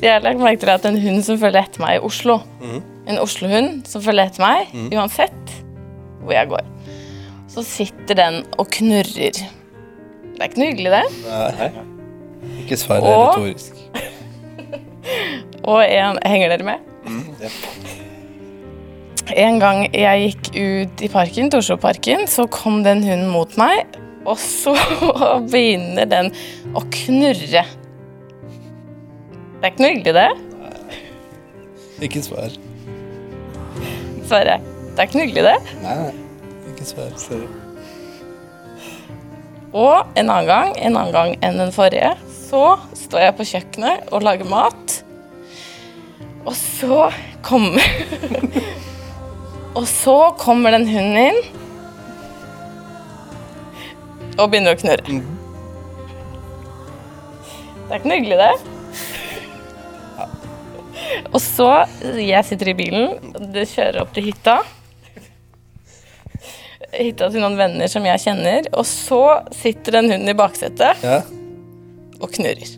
[SPEAKER 6] Jeg har lagt merke til at det er en hund som følger etter meg i Oslo. En Oslo-hund som følger etter meg uansett hvor jeg går. Så sitter den og knurrer. Det er ikke noe hyggelig, det.
[SPEAKER 2] Ikke svar det er
[SPEAKER 6] Og-
[SPEAKER 2] retorisk.
[SPEAKER 6] Og en Henger dere med? En gang jeg gikk ut i parken, Torshov-parken, så kom den hunden mot meg, og så begynner den å knurre. Det er ikke noe hyggelig, det.
[SPEAKER 2] Ikke svar.
[SPEAKER 6] Sverre. Det er ikke noe hyggelig, det.
[SPEAKER 4] Nei, nei.
[SPEAKER 2] Ikke svar. Sorry.
[SPEAKER 6] Og en annen gang, en annen gang enn den forrige, så står jeg på kjøkkenet og lager mat. Og så kommer Og så kommer den hunden inn og begynner å knurre. Det er ikke noe hyggelig, det. Og så Jeg sitter i bilen, det kjører opp til hytta hytta til noen venner som jeg kjenner, og så sitter en hund i baksetet
[SPEAKER 2] Ja.
[SPEAKER 6] og knurrer.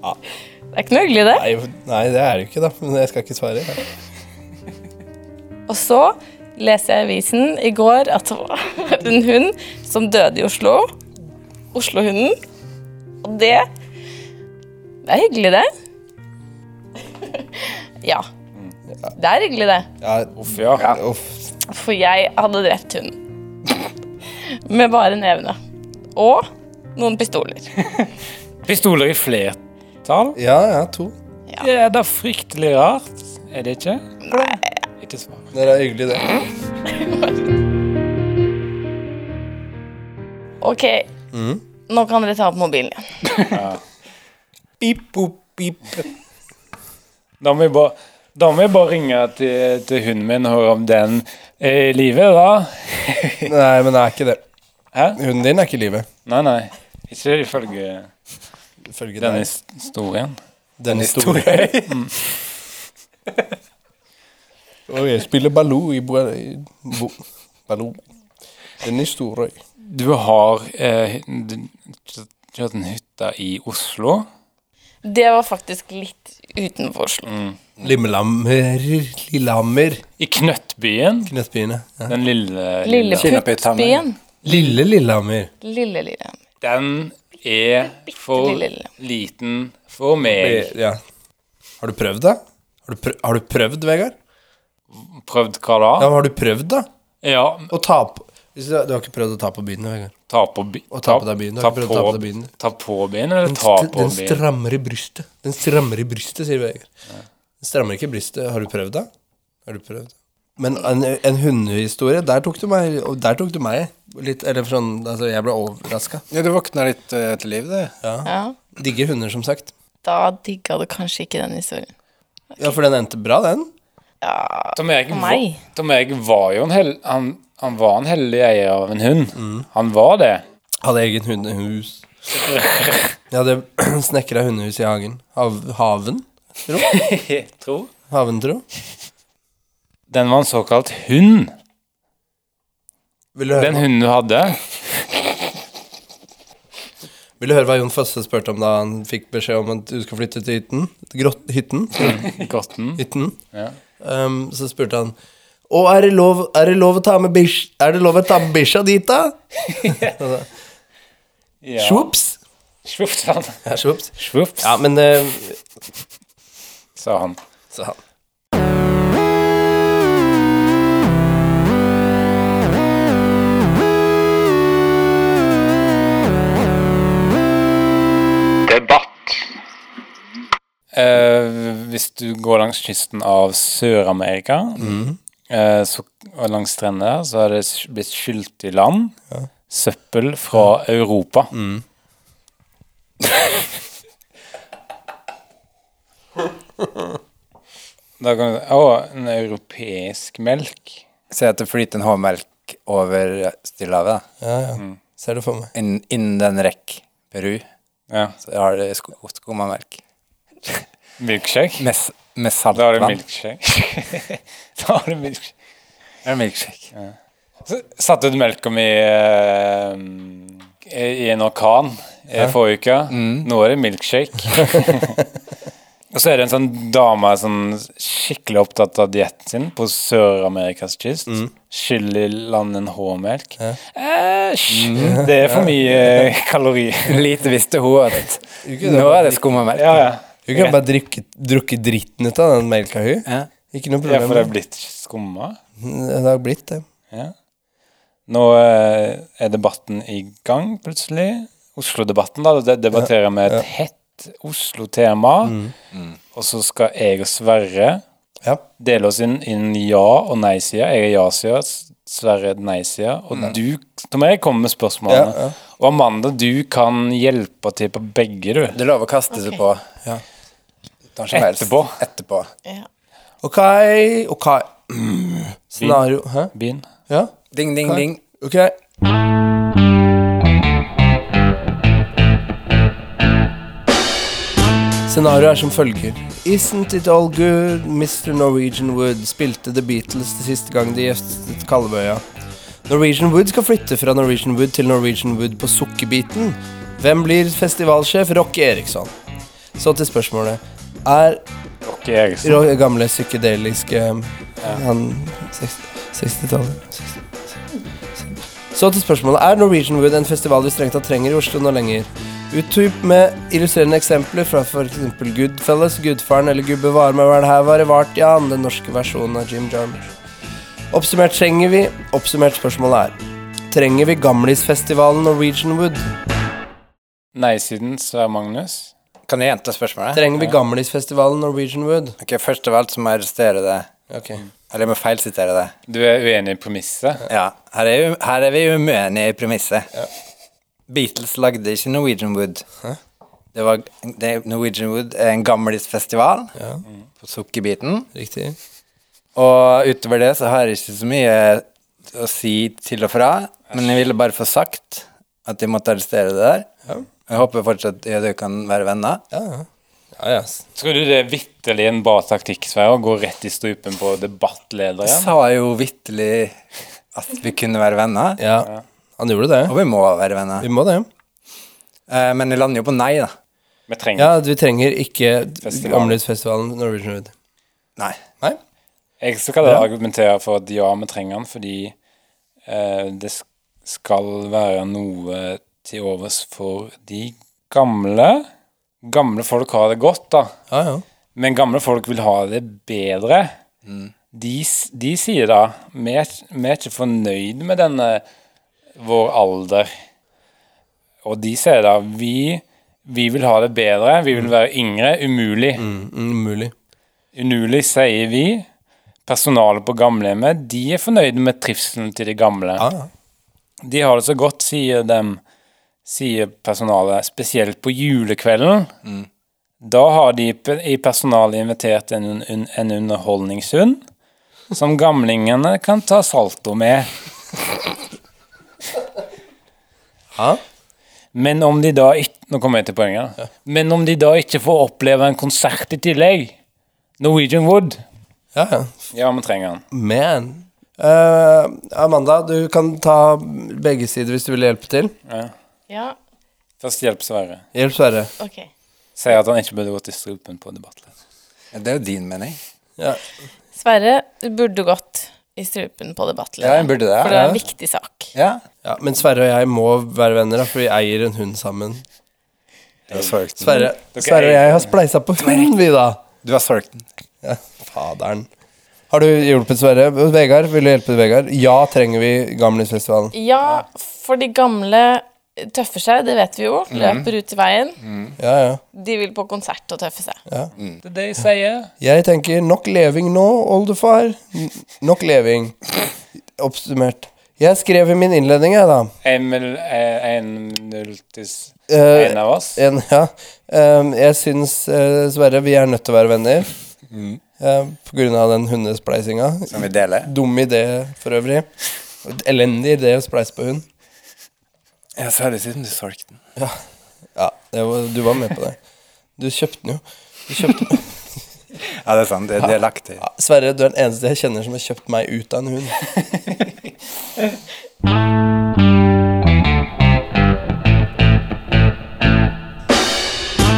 [SPEAKER 6] Det er ikke noe hyggelig, det.
[SPEAKER 2] Nei, nei, det er det jo ikke, da. Men jeg skal ikke svare. da.
[SPEAKER 6] Og så leser jeg i avisen i går at det var en hund som døde i Oslo. Oslohunden. Og det Det er hyggelig, det. Ja. Det er hyggelig, det.
[SPEAKER 2] Ja,
[SPEAKER 3] Uff, ja.
[SPEAKER 2] uff.
[SPEAKER 6] For jeg hadde drept hunden. Med bare nevene. Og noen pistoler.
[SPEAKER 3] Pistoler i flertall?
[SPEAKER 2] ja, ja, to.
[SPEAKER 3] Det er da fryktelig rart, er det ikke? Nei. Ikke svar.
[SPEAKER 2] Det er hyggelig, det.
[SPEAKER 6] Ok, nå kan dere ta opp mobilen igjen.
[SPEAKER 2] Pip, pop, pip.
[SPEAKER 3] Da må jeg bare, da må jeg bare ringe til, til hunden min og høre om den er i live, da.
[SPEAKER 2] Nei, men det er ikke det.
[SPEAKER 3] Hæ?
[SPEAKER 2] Hunden din er ikke i live.
[SPEAKER 3] Nei, nei. Ikke ifølge
[SPEAKER 2] Ifølge
[SPEAKER 3] denne
[SPEAKER 2] deg.
[SPEAKER 3] historien.
[SPEAKER 2] Dennis Storøy. Og jeg spiller Baloo i bo... i bo Baloo. Dennis Storøy.
[SPEAKER 3] Du har eh, du- kjørt en hytte i Oslo.
[SPEAKER 6] Det var faktisk litt utenfor Oslo.
[SPEAKER 2] Limmelammer Lillehammer.
[SPEAKER 3] I Knøttbyen.
[SPEAKER 2] Knøttbyene. Ja.
[SPEAKER 3] Den lille,
[SPEAKER 6] Lille Puttbyen.
[SPEAKER 4] Kinnapøytammen.
[SPEAKER 2] Lille Lillehammer.
[SPEAKER 6] Lille, lille.
[SPEAKER 3] Den er for liten for meg.
[SPEAKER 2] Ja. Har du prøvd, da? Har du, prø har du prøvd, Vegard?
[SPEAKER 3] Prøvd hva da?
[SPEAKER 2] Ja, men har du prøvd, da?
[SPEAKER 3] Ja,
[SPEAKER 2] Å ta på Hvis du, du har ikke prøvd å ta på byen, Vegard.
[SPEAKER 3] ta på bi-
[SPEAKER 2] Å ta på deg byen, da.
[SPEAKER 3] Ta
[SPEAKER 2] Prøv å
[SPEAKER 3] på,
[SPEAKER 2] ta på deg byen.
[SPEAKER 3] ta på byen, eller
[SPEAKER 2] Den,
[SPEAKER 3] ta
[SPEAKER 2] st
[SPEAKER 3] på
[SPEAKER 2] den
[SPEAKER 3] byen?
[SPEAKER 2] strammer i brystet. Den strammer i brystet, sier Vegard. Den strammer ikke i brystet. Har du prøvd, da? Har du prøvd? Men en, en hundehistorie, der tok du meg og Der tok du meg litt Eller sånn Altså, jeg ble overraska.
[SPEAKER 4] Ja, du våkna litt eh, til liv, du.
[SPEAKER 6] Ja,
[SPEAKER 2] Digger hunder, som sagt.
[SPEAKER 6] da digga du kanskje ikke den historien.
[SPEAKER 2] Ja, for den endte bra, den.
[SPEAKER 3] Tom Erik,
[SPEAKER 6] for
[SPEAKER 3] va-
[SPEAKER 6] meg.
[SPEAKER 3] Tom Erik var jo en hel, han, han var en heldig eier av en hund.
[SPEAKER 2] Mm.
[SPEAKER 3] Han var det.
[SPEAKER 2] Hadde egen hundehus. Jeg hadde snekra hundehus i hagen. Hav haven?
[SPEAKER 3] Tror.
[SPEAKER 2] Haventro?
[SPEAKER 3] Den var en såkalt hund.
[SPEAKER 2] Vil du høre,
[SPEAKER 3] Den hunden du hadde.
[SPEAKER 2] vil du høre hva Jon Fosse spurte om da han fikk beskjed om at du skal flytte til hytten? Grott, hytten?
[SPEAKER 3] Grotten.
[SPEAKER 2] hytten.
[SPEAKER 3] Ja.
[SPEAKER 2] Ehm, så spurte han Å, er det lov, er det lov å ta med bish, Er det lov å ta med bikkja dit, da?
[SPEAKER 3] Ja.
[SPEAKER 2] Svops!
[SPEAKER 3] Svops, sa han.
[SPEAKER 2] Ja, svops.
[SPEAKER 3] Svops,
[SPEAKER 2] Ja, men eh,
[SPEAKER 3] sa han.
[SPEAKER 2] sa han.
[SPEAKER 5] Debatt.
[SPEAKER 3] Eh, hvis du går langs kysten av Sør-Amerika, eh, så- og langs strendene der, så har det sk- blitt skylt i land søppel fra Europa. da kan du Å, en europeisk melk.
[SPEAKER 4] Si at det flyter en H-melk rekk over Stillehavet. da.
[SPEAKER 2] Ja, ja. Ser du for meg.
[SPEAKER 4] Innen innen den rekk Peru.
[SPEAKER 3] Ja.
[SPEAKER 4] Så har det sko skummamelk.
[SPEAKER 3] Milkshake?
[SPEAKER 4] Med, s- med
[SPEAKER 3] Da har du
[SPEAKER 4] saltvann.
[SPEAKER 3] milkshake. da har du milkshake.
[SPEAKER 4] Det er milkshake.
[SPEAKER 3] Så Satte ut melka mi eh, i en orkan eh, forrige uke. Nå er det milkshake. Og så er det en sånn dame sånn skikkelig opptatt av dietten sin på Sør-Amerikas kyst. Skyll i land en H-melk. Æsj! Det er for mye eh, kalorier.
[SPEAKER 4] Lite visste hun at nå er det skummamelk.
[SPEAKER 3] Ja, ja.
[SPEAKER 2] Du kunne bare drikke, drukke dritten ut av den melka hun.
[SPEAKER 4] Ja.
[SPEAKER 2] Ikke noe
[SPEAKER 3] ja,
[SPEAKER 2] problem.
[SPEAKER 3] for det er blitt skumma.
[SPEAKER 2] det har blitt det.
[SPEAKER 3] Ja. Nå eh, er debatten i gang, plutselig. Oslo-debatten, da. Det debatterer vi et hett Oslo-tema.
[SPEAKER 2] Mm.
[SPEAKER 4] Mm.
[SPEAKER 3] Og så skal jeg og Sverre
[SPEAKER 2] Ja.
[SPEAKER 3] dele oss inn innen ja- og nei-sida. Jeg er ja-sida, S- Sverre er nei-sida. Og
[SPEAKER 4] Mm.
[SPEAKER 3] du, Tom Erik, kommer med spørsmålene.
[SPEAKER 2] Ja, ja.
[SPEAKER 3] Og Amanda, du kan hjelpe til på begge, du.
[SPEAKER 4] Det er lov å kaste seg på.
[SPEAKER 2] Ja.
[SPEAKER 4] Når som helst.
[SPEAKER 3] Etterpå.
[SPEAKER 4] Etterpå.
[SPEAKER 6] Ja.
[SPEAKER 2] Ok, ok. Mm. Scenario Hæ?
[SPEAKER 3] Begynn.
[SPEAKER 2] Ja?
[SPEAKER 4] Ding, ding, ding.
[SPEAKER 2] Ok. Scenarioet er som følger. Isn't it all good? Mr. Norwegian Wood spilte The Beatles det siste gang de gjestet Kalvøya. Norwegian Wood skal flytte fra Norwegian Wood til Norwegian Wood på Sukkerbiten. Hvem blir festivalsjef? Rocky Eriksson. Så til spørsmålet. Er
[SPEAKER 3] Rocky Eriksen.
[SPEAKER 2] ro- gamle psykedeliske eh, Han 60 60-tallet 60 Så til spørsmålet Er Norwegian Wood en festival vi strengt tatt trenger i Oslo nå lenger? Utdyp med illustrerende eksempler fra f.eks. Goodfellas, Gudfaren eller Gubbe var med vel her var det vart, ja, den norske versjonen av Jim Jarmusch. Oppsummert trenger vi Oppsummert spørsmålet er Trenger vi Gamlisfestivalen Norwegian Wood?
[SPEAKER 3] Nei-siden, Sverre Magnus.
[SPEAKER 4] Kan du gjenta spørsmålet?
[SPEAKER 2] Trenger vi Gamlisfestivalen Norwegian Wood?
[SPEAKER 4] Ok, Først av alt så må jeg arrestere det.
[SPEAKER 2] Ok
[SPEAKER 4] Eller jeg må feilsitere det.
[SPEAKER 3] Du er uenig i premisset.
[SPEAKER 4] Ja, her er, jo- her er vi uenige i premisset. Beatles lagde ikke Norwegian Wood. Det var, det, Norwegian Wood er en gamlisfestival
[SPEAKER 2] Ja.
[SPEAKER 4] på Sukkerbiten.
[SPEAKER 2] Riktig
[SPEAKER 4] Og utover det så har jeg ikke så mye å si til og fra. Men jeg ville bare få sagt at jeg måtte arrestere det der. Jeg håper fortsatt jeg og du kan være venner.
[SPEAKER 2] Ja, ja Ja, ja
[SPEAKER 3] Tror du det er vitterlig en bra taktikk, Sverre, å gå rett i strupen på
[SPEAKER 4] Jeg
[SPEAKER 3] debattlederen?
[SPEAKER 4] sa jo vitterlig at vi kunne være venner.
[SPEAKER 2] Ja, han gjorde det.
[SPEAKER 4] Og vi må være venner.
[SPEAKER 2] Vi må det.
[SPEAKER 4] Eh, Men jeg lander jo på nei, da.
[SPEAKER 3] Vi trenger
[SPEAKER 2] Ja, vi trenger ikke
[SPEAKER 3] Festival.
[SPEAKER 2] Gamlehusfestivalen Norwegian Wood.
[SPEAKER 4] Nei.
[SPEAKER 2] Nei?
[SPEAKER 3] Jeg skal da argumentere for at ja, vi trenger den, fordi eh, det sk- skal være noe til overs for de gamle. Gamle folk har det godt, da.
[SPEAKER 2] Ja, ja.
[SPEAKER 3] Men gamle folk vil ha det bedre. De, s- de sier da vi er, ikke- vi er ikke fornøyd med denne vår alder. Og de sier da vi, vi vil ha det bedre, vi vil være yngre. Umulig.
[SPEAKER 2] Mm, mm, Umulig.
[SPEAKER 3] Unulig sier vi. Personalet på gamlehjemmet de er fornøyde med trivselen til de gamle.
[SPEAKER 2] Ja, ja.
[SPEAKER 3] De har det så godt, sier dem, sier personalet. Spesielt på julekvelden. Da har de pe- i personalet invitert en, un- un- en underholdningshund som gamlingene kan ta salto med.
[SPEAKER 2] Ja.
[SPEAKER 3] Men om de da ikke Nå kommer jeg til poenget. da. Men om de da ikke får oppleve en konsert i tillegg Norwegian Wood.
[SPEAKER 2] ja, ja.
[SPEAKER 3] Ja, vi trenger den.
[SPEAKER 2] Man. Eh, Amanda, du kan ta begge sider hvis du vil hjelpe til.
[SPEAKER 6] ja,
[SPEAKER 3] Først hjelp Sverre.
[SPEAKER 2] Hjelp Sverre.
[SPEAKER 6] ok.
[SPEAKER 3] Sier at han ikke burde gått i strupen på debattleder.
[SPEAKER 4] Ja, Det er jo din mening.
[SPEAKER 2] Ja.
[SPEAKER 6] Sverre, du burde gått i strupen på
[SPEAKER 4] Ja, jeg
[SPEAKER 6] debattlederen.
[SPEAKER 4] burde
[SPEAKER 6] For det
[SPEAKER 4] det.
[SPEAKER 6] er en viktig sak.
[SPEAKER 4] Ja.
[SPEAKER 2] Ja, men Sverre og jeg må være venner, da, for vi eier en hund sammen.
[SPEAKER 4] Du har solgt den.
[SPEAKER 2] Sverre, Sverre og jeg har spleisa på hund, vi, da.
[SPEAKER 4] Du har solgt den.
[SPEAKER 2] Ja, faderen. Har du hjulpet Sverre? Vegard, vil du hjelpe Vegard? Ja, trenger vi Gamlehusfestivalen.
[SPEAKER 6] Ja, for de gamle tøffer seg, det vet vi jo.
[SPEAKER 4] Mhm.
[SPEAKER 6] Løper ut i veien.
[SPEAKER 2] Ja, ja.
[SPEAKER 6] De vil på konsert og tøffe seg.
[SPEAKER 3] Det er det jeg sier.
[SPEAKER 2] Jeg tenker nok leving nå, oldefar. N- Nok leving. Oppsummert. Jeg skrev i min innledning, jeg, da.
[SPEAKER 3] 1-0 til s-
[SPEAKER 2] Eh,
[SPEAKER 3] eh, en av oss.
[SPEAKER 2] En, ja. Ehm, jeg syns, eh, Sverre, vi er nødt til å være venner. Ehm, Eh, på grunn av den hundespleisinga.
[SPEAKER 4] Mm. Som vi deler.
[SPEAKER 2] Dum idé, for øvrig. Elendig idé å spleise på hund.
[SPEAKER 4] Ja, særlig siden du solgte den.
[SPEAKER 2] Ja, det var, du var med på det. Du kjøpte den jo. Du kjøpte,
[SPEAKER 4] Ja, det er sant. Det, det er lagt til.
[SPEAKER 2] ja, Sverre, du er den eneste jeg kjenner som har kjøpt meg ut av en hund.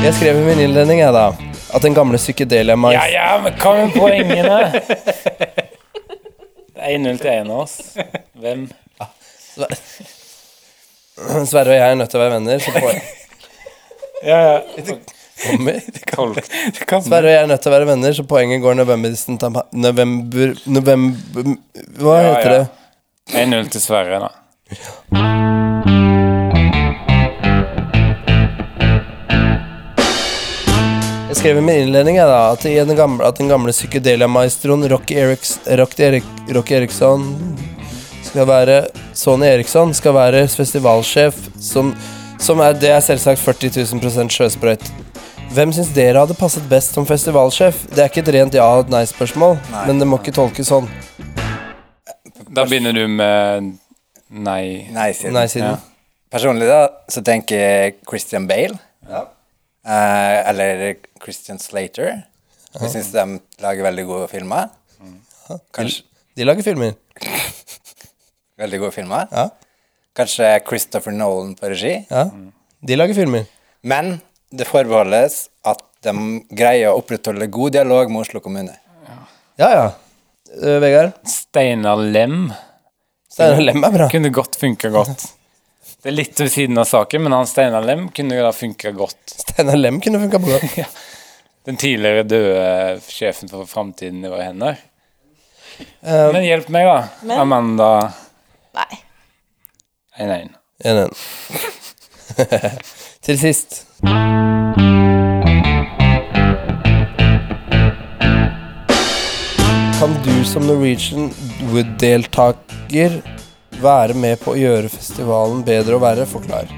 [SPEAKER 2] Jeg skrev i min innledning jeg da at den gamle psykedelia-mais
[SPEAKER 3] Ja, ja, men hva med poengene? Det er 1-0 til en av oss. Hvem?
[SPEAKER 2] Sverre og jeg er nødt til å være venner, så poeng
[SPEAKER 3] Ja, ja.
[SPEAKER 2] kommer.
[SPEAKER 3] Tolk.
[SPEAKER 2] Sverre og jeg er nødt til å være venner, så poenget går November distant am- November, november Hva
[SPEAKER 3] Ja,
[SPEAKER 2] heter
[SPEAKER 3] ja.
[SPEAKER 2] det?
[SPEAKER 3] 1-0 til Sverre, da.
[SPEAKER 2] Jeg skrev i min innledning jeg, da, at, i den gamle, at den gamle psykedelia-maestroen Rocky, Eriks, Rocky, Erik, Rocky Eriksson skal være Sony Eriksson skal være festivalsjef, som, som er, det er selvsagt 40 000 sjøsprøyt. Hvem syns dere hadde passet best som festivalsjef? Det er ikke et rent ja- og et nei-spørsmål,
[SPEAKER 4] Nei.
[SPEAKER 2] men det må ikke tolkes sånn.
[SPEAKER 3] Da begynner du med nei.
[SPEAKER 4] Nei, siden.
[SPEAKER 2] Nei-siden.
[SPEAKER 3] Ja.
[SPEAKER 4] Personlig da, så tenker jeg Christian Bale. Eh, eller Christian Slater. Jeg syns de lager veldig gode filmer. Kanskje,
[SPEAKER 2] De lager filmer.
[SPEAKER 4] veldig gode filmer.
[SPEAKER 2] Ja.
[SPEAKER 4] Kanskje Christopher Nolan på regi.
[SPEAKER 2] Ja. De lager filmer.
[SPEAKER 4] Men det forbeholdes at de greier å opprettholde god dialog med Oslo kommune.
[SPEAKER 2] Ja, ja. Eh, Vegard?
[SPEAKER 3] Steinar Lem
[SPEAKER 2] Steinar Lem er bra.
[SPEAKER 3] kunne godt funka godt. Det er litt ved siden av saken, men han Steinar Lem kunne da funka godt.
[SPEAKER 2] Steinar Lem kunne funka på det.
[SPEAKER 3] Den tidligere døde sjefen for Framtiden i våre hender.
[SPEAKER 2] Um,
[SPEAKER 3] Men hjelp meg, da. Amanda
[SPEAKER 6] Nei.
[SPEAKER 3] 1-1.
[SPEAKER 2] 1-1. Til sist. Kan du som Norwegian Wood-deltaker være med på å gjøre festivalen bedre og verre? Forklar.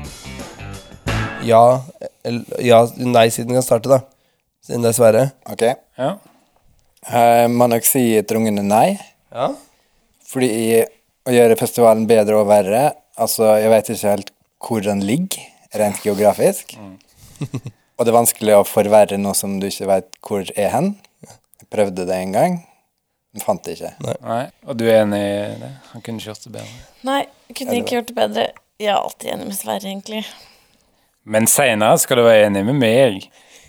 [SPEAKER 2] Ja, eller- ja Nei-siden kan starte, da. Siden det er Sverre.
[SPEAKER 4] Ok?
[SPEAKER 3] Ja.
[SPEAKER 4] Eh, må nok si trungende nei.
[SPEAKER 2] Ja.
[SPEAKER 4] Fordi å gjøre festivalen bedre og verre Altså, jeg vet ikke helt hvor den ligger, rent geografisk.
[SPEAKER 2] Mm.
[SPEAKER 4] og det er vanskelig å forverre noe som du ikke vet hvor er hen. Jeg prøvde det en gang, men fant det ikke.
[SPEAKER 3] Nei. Og du er enig i det? Han kunne kjørt det bedre.
[SPEAKER 6] Nei, kunne ikke gjort det bedre. Jeg er alltid enig med Sverre, egentlig.
[SPEAKER 3] Men seinere skal du være enig med meg,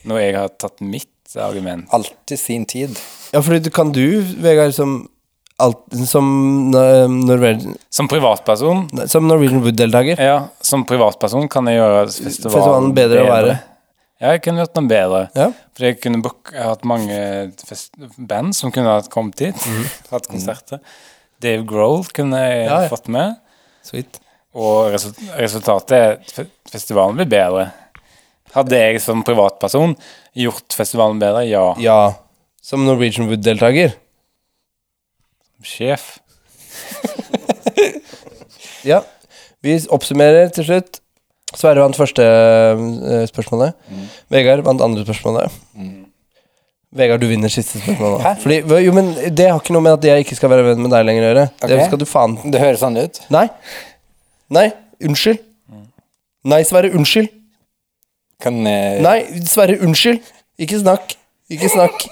[SPEAKER 3] når jeg har tatt mitt argument.
[SPEAKER 4] Alltid sin tid.
[SPEAKER 2] ja, fordi du kan du, Vegard, som, alt, som, eh, Norwegian,
[SPEAKER 3] Som privatperson
[SPEAKER 2] som Norwegian Wood-deltaker
[SPEAKER 3] Ja, som privatperson kan jeg gjøre festivalen,
[SPEAKER 2] Festivalen bedre og verre.
[SPEAKER 3] Ja, jeg kunne gjort den bedre.
[SPEAKER 2] Ja.
[SPEAKER 3] For jeg kunne book, jeg har hatt mange fest, band som kunne ha kommet hit.
[SPEAKER 4] Mhm.
[SPEAKER 3] hatt konserter. Dave Grohl kunne jeg
[SPEAKER 2] Ja, ja.
[SPEAKER 3] fått med.
[SPEAKER 2] Sweet.
[SPEAKER 3] Og resul- resultatet er at fe- festivalen blir bedre. Hadde jeg som privatperson gjort festivalen bedre? Ja.
[SPEAKER 2] Ja. Som Norwegian Wood-deltaker?
[SPEAKER 3] Sjef.
[SPEAKER 2] Ja. Vi oppsummerer til slutt. Sverre vant første eh, spørsmålet. Vegard vant andre spørsmålet. Vegard, du vinner siste spørsmål. da. Fordi, jo, men Det har ikke noe med at jeg ikke skal være venn med deg lenger å gjøre. Det
[SPEAKER 4] Ok.
[SPEAKER 2] skal du faen
[SPEAKER 4] Det høres sånn ut.
[SPEAKER 2] Nei. Nei. Unnskyld. Nei, Sverre. Unnskyld.
[SPEAKER 4] Kan eh,
[SPEAKER 2] Nei, Sverre. Unnskyld. Ikke snakk. Ikke snakk.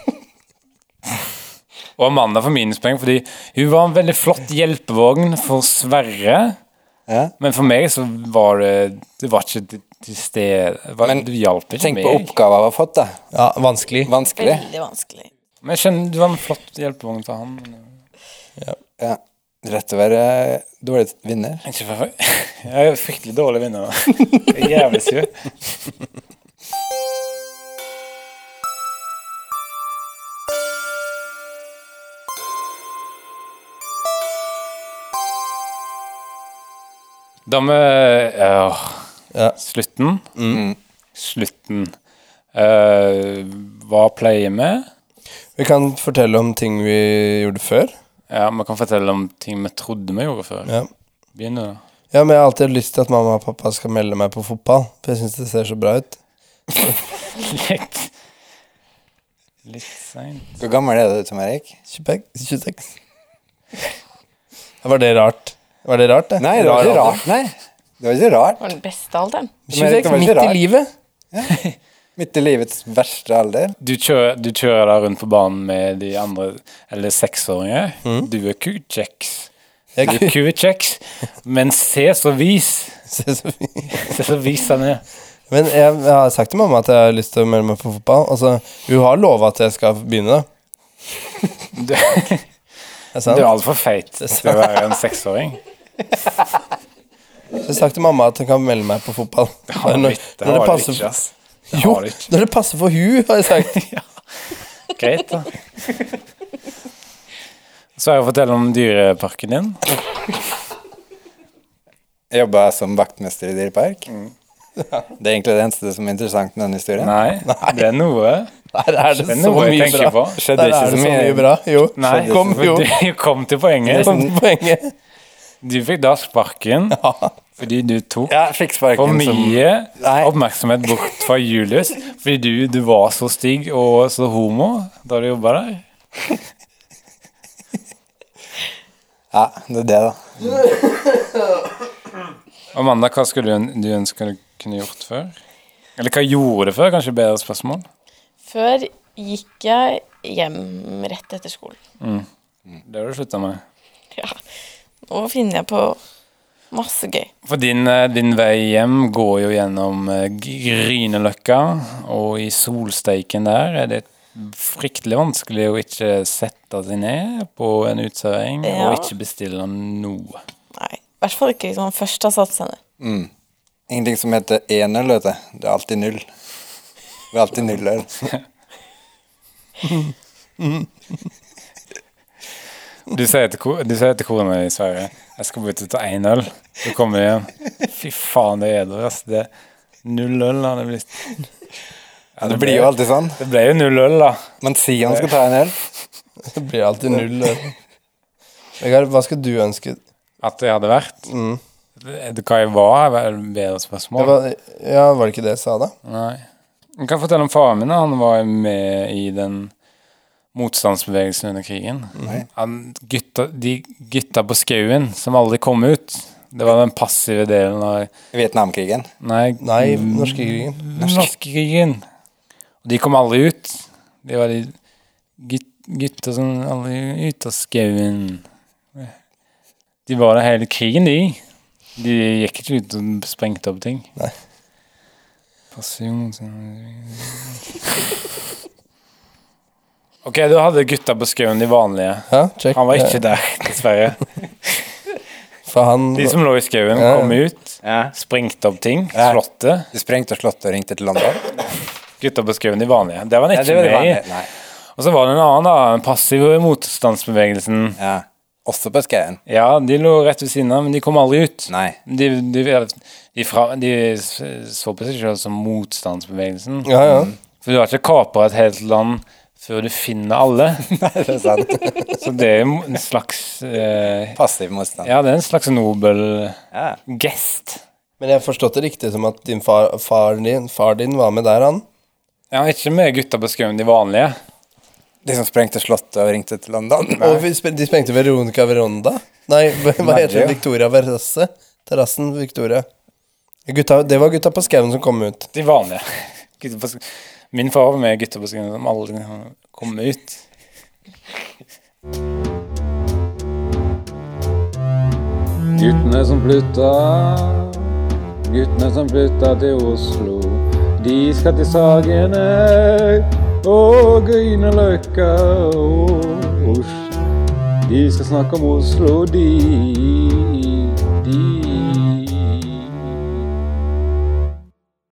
[SPEAKER 3] Og Amanda får minuspoeng fordi hun var en veldig flott hjelpevogn for Sverre.
[SPEAKER 4] Ja.
[SPEAKER 3] Men for meg så var det Det var ikke til- til stede det var-
[SPEAKER 4] Men
[SPEAKER 3] Du hjalp ikke
[SPEAKER 4] Tenk
[SPEAKER 3] meg.
[SPEAKER 4] på oppgaver vi har fått, da.
[SPEAKER 2] Ja, vanskelig.
[SPEAKER 4] Vanskelig.
[SPEAKER 6] Veldig vanskelig.
[SPEAKER 3] Men jeg skjønner, du var en flott hjelpevogn for han. men
[SPEAKER 4] Ja. Rett å være dårlig vinner.
[SPEAKER 3] Ikke for Jeg er fryktelig dårlig vinner. Jeg er jævlig sur. Da med øh,
[SPEAKER 2] Ja. Mm.
[SPEAKER 3] Slutten. Slutten. Øh, hva pleier vi?
[SPEAKER 2] Vi kan fortelle om ting vi gjorde før.
[SPEAKER 3] Ja, Vi kan fortelle om ting vi trodde vi gjorde før.
[SPEAKER 2] Ja.
[SPEAKER 3] Begynn du, da.
[SPEAKER 2] Ja, men jeg har alltid hatt lyst til at mamma og pappa skal melde meg på fotball, for jeg syns det ser så bra ut.
[SPEAKER 3] Litt Litt seint.
[SPEAKER 4] Hvor gammel er du, Tom Erik?
[SPEAKER 2] 26. 26. Ja, Var det rart? Var det rart, det?
[SPEAKER 4] Nei, det
[SPEAKER 2] Rar
[SPEAKER 4] var ikke
[SPEAKER 2] alder.
[SPEAKER 4] rart, nei. Det var ikke rart.
[SPEAKER 6] Det var den beste alderen.
[SPEAKER 2] 26,
[SPEAKER 4] Det var ikke
[SPEAKER 2] midt i
[SPEAKER 4] rart.
[SPEAKER 2] livet.
[SPEAKER 4] Midt i livets verste alder.
[SPEAKER 3] Du kjører, du kjører da rundt på banen med de andre, eller seksåringer.
[SPEAKER 2] Mm.
[SPEAKER 3] Du er kukjeks. Du er kukjeks. Men se så vis!
[SPEAKER 2] Se så fint.
[SPEAKER 3] Se så vis han er.
[SPEAKER 2] Men jeg, jeg har sagt til mamma at jeg har lyst til å melde meg på fotball. Altså, hun har lova at jeg skal begynne, da.
[SPEAKER 3] Du,
[SPEAKER 2] Det er
[SPEAKER 3] du er
[SPEAKER 2] sant.
[SPEAKER 3] altfor feit til å være en seksåring.
[SPEAKER 2] Så jeg har sagt til mamma at hun kan melde meg på fotball.
[SPEAKER 3] Det har du
[SPEAKER 2] når,
[SPEAKER 3] ikke, det
[SPEAKER 2] når det
[SPEAKER 3] har du
[SPEAKER 2] passer
[SPEAKER 3] ikke,
[SPEAKER 2] for,
[SPEAKER 3] ass. Det
[SPEAKER 2] jo,
[SPEAKER 3] har du ikke.
[SPEAKER 2] når det passer for hun, har jeg sagt.
[SPEAKER 3] Greit, da. Så har jeg å fortelle om dyreparken din.
[SPEAKER 4] Jeg jobba som vaktmester i dyrepark. Det er egentlig det eneste som er interessant med den historien.
[SPEAKER 3] Nei, det er noe.
[SPEAKER 2] Der er det
[SPEAKER 3] Det
[SPEAKER 2] så
[SPEAKER 3] er noe jeg
[SPEAKER 2] mye
[SPEAKER 3] tenker
[SPEAKER 2] bra.
[SPEAKER 3] på.
[SPEAKER 4] Skjedde
[SPEAKER 2] Der
[SPEAKER 4] ikke
[SPEAKER 2] er
[SPEAKER 4] så
[SPEAKER 2] det så
[SPEAKER 4] mye.
[SPEAKER 2] mye bra. Jo.
[SPEAKER 3] Nei,
[SPEAKER 2] Kom, jo.
[SPEAKER 3] du kom til poenget.
[SPEAKER 2] Kom til poenget.
[SPEAKER 3] Du fikk da sparken fordi du tok
[SPEAKER 4] Ja, jeg fikk
[SPEAKER 3] for
[SPEAKER 4] sparken
[SPEAKER 3] mye
[SPEAKER 4] Nei.
[SPEAKER 3] oppmerksomhet bort fra Julius. Fordi du, du var så stygg og så homo da du jobba der.
[SPEAKER 4] som Ja, det er det, da.
[SPEAKER 3] Amanda, hva skulle du, du ønske du kunne gjort før? Eller hva gjorde du før? Kanskje bedre spørsmål?
[SPEAKER 6] Før gikk jeg hjem rett etter skolen.
[SPEAKER 3] Det har du slutta med.
[SPEAKER 6] Ja. Nå finner jeg på masse gøy.
[SPEAKER 3] For din, eh, din vei hjem går jo gjennom eh, Grünerløkka, og i solsteiken der er det fryktelig vanskelig å ikke sette seg ned på en uteservering
[SPEAKER 6] Ja.
[SPEAKER 3] og ikke bestille noe.
[SPEAKER 6] Nei, i sånn hvert fall ikke hvis man først har satt seg ned.
[SPEAKER 4] Ingenting som heter én øl, vet du. Det er alltid null. Det er alltid null øl.
[SPEAKER 3] Du sier til, ko- du sier til kona di, Sverre, jeg skal bare ut og ta én øl. Så kommer du hjem. Fy faen, det er edru, ass. Det null øl har det blitt. Ja,
[SPEAKER 4] Det blir jo alltid sånn.
[SPEAKER 3] Det ble jo null øl, da.
[SPEAKER 4] Man sier man skal ta en øl.
[SPEAKER 2] Det blir alltid null. øre. Vegard, hva skal du ønske?
[SPEAKER 3] At det hadde vært. Det- Hva jeg var, er vel et bedre
[SPEAKER 2] Mm. Det
[SPEAKER 3] spørsmål.
[SPEAKER 2] var, ja, var det ikke det jeg sa, da?
[SPEAKER 3] Nei. Jeg kan fortelle om faren min. da. Han var jo med i den motstandsbevegelsen under krigen.
[SPEAKER 2] Mhm.
[SPEAKER 3] Han, gutta, de gutta på skauen som aldri kom ut. Det var den passive delen av
[SPEAKER 4] Vietnamkrigen.
[SPEAKER 3] Nei,
[SPEAKER 2] Nei, norskekrigen.
[SPEAKER 3] norskekrigen. Og de kom aldri ut. De var de gut, gutta som sånn, aldri kom ut av skauen. De var der hele krigen, de. De gikk ikke ut og sprengte opp ting. sånn.
[SPEAKER 2] Nei.
[SPEAKER 3] Passiv motstand Ok, du hadde gutta på skauen, de vanlige.
[SPEAKER 2] Ja, check.
[SPEAKER 3] Han var ikke der, dessverre.
[SPEAKER 2] For han
[SPEAKER 3] De som lå i skauen,
[SPEAKER 2] Ja.
[SPEAKER 3] kom ut,
[SPEAKER 4] Ja.
[SPEAKER 3] sprengte opp ting,
[SPEAKER 4] Ja.
[SPEAKER 3] slottet.
[SPEAKER 4] Du sprengte og slått og ringte til London?
[SPEAKER 3] Gutta på skauen, de vanlige. Det var han
[SPEAKER 4] Ja,
[SPEAKER 3] ikke med i.
[SPEAKER 4] vanlige. Nei.
[SPEAKER 3] Og så var det en annen, da. Den passive motstandsbevegelsen.
[SPEAKER 4] Ja. Også på skauen?
[SPEAKER 3] Ja, de lå rett ved siden av, men de kom aldri ut.
[SPEAKER 4] Nei.
[SPEAKER 3] De, de, de, fra, de s- så på seg selv som motstandsbevegelsen.
[SPEAKER 2] Ja, ja.
[SPEAKER 3] For du har ikke kapra et helt land før du finner alle.
[SPEAKER 4] Det er sant.
[SPEAKER 3] Så det er jo en slags eh,
[SPEAKER 4] Passiv motstand.
[SPEAKER 3] Ja, det er en slags Nobel-gest.
[SPEAKER 4] Ja.
[SPEAKER 2] Men jeg har forstått det riktig som at din far, far, din, far din var med der, han?
[SPEAKER 3] Ja, ikke med gutta på skauen, de vanlige.
[SPEAKER 4] De som sprengte slottet og ringte til London?
[SPEAKER 2] Og vi sp de sprengte Veronica Veronda? Nei, hva hva heter det? Victoria Verasse? Terrassen Victoria. Gutta, det var gutta på skauen som kom ut.
[SPEAKER 3] De vanlige. Gutta på sk- Min far var med gutta på skauen som aldri kom ut.
[SPEAKER 1] Guttene som flytta, guttene som flytta til Oslo. De skal til Sagene og Grünerløkka og Os- De skal snakke om Oslo, de.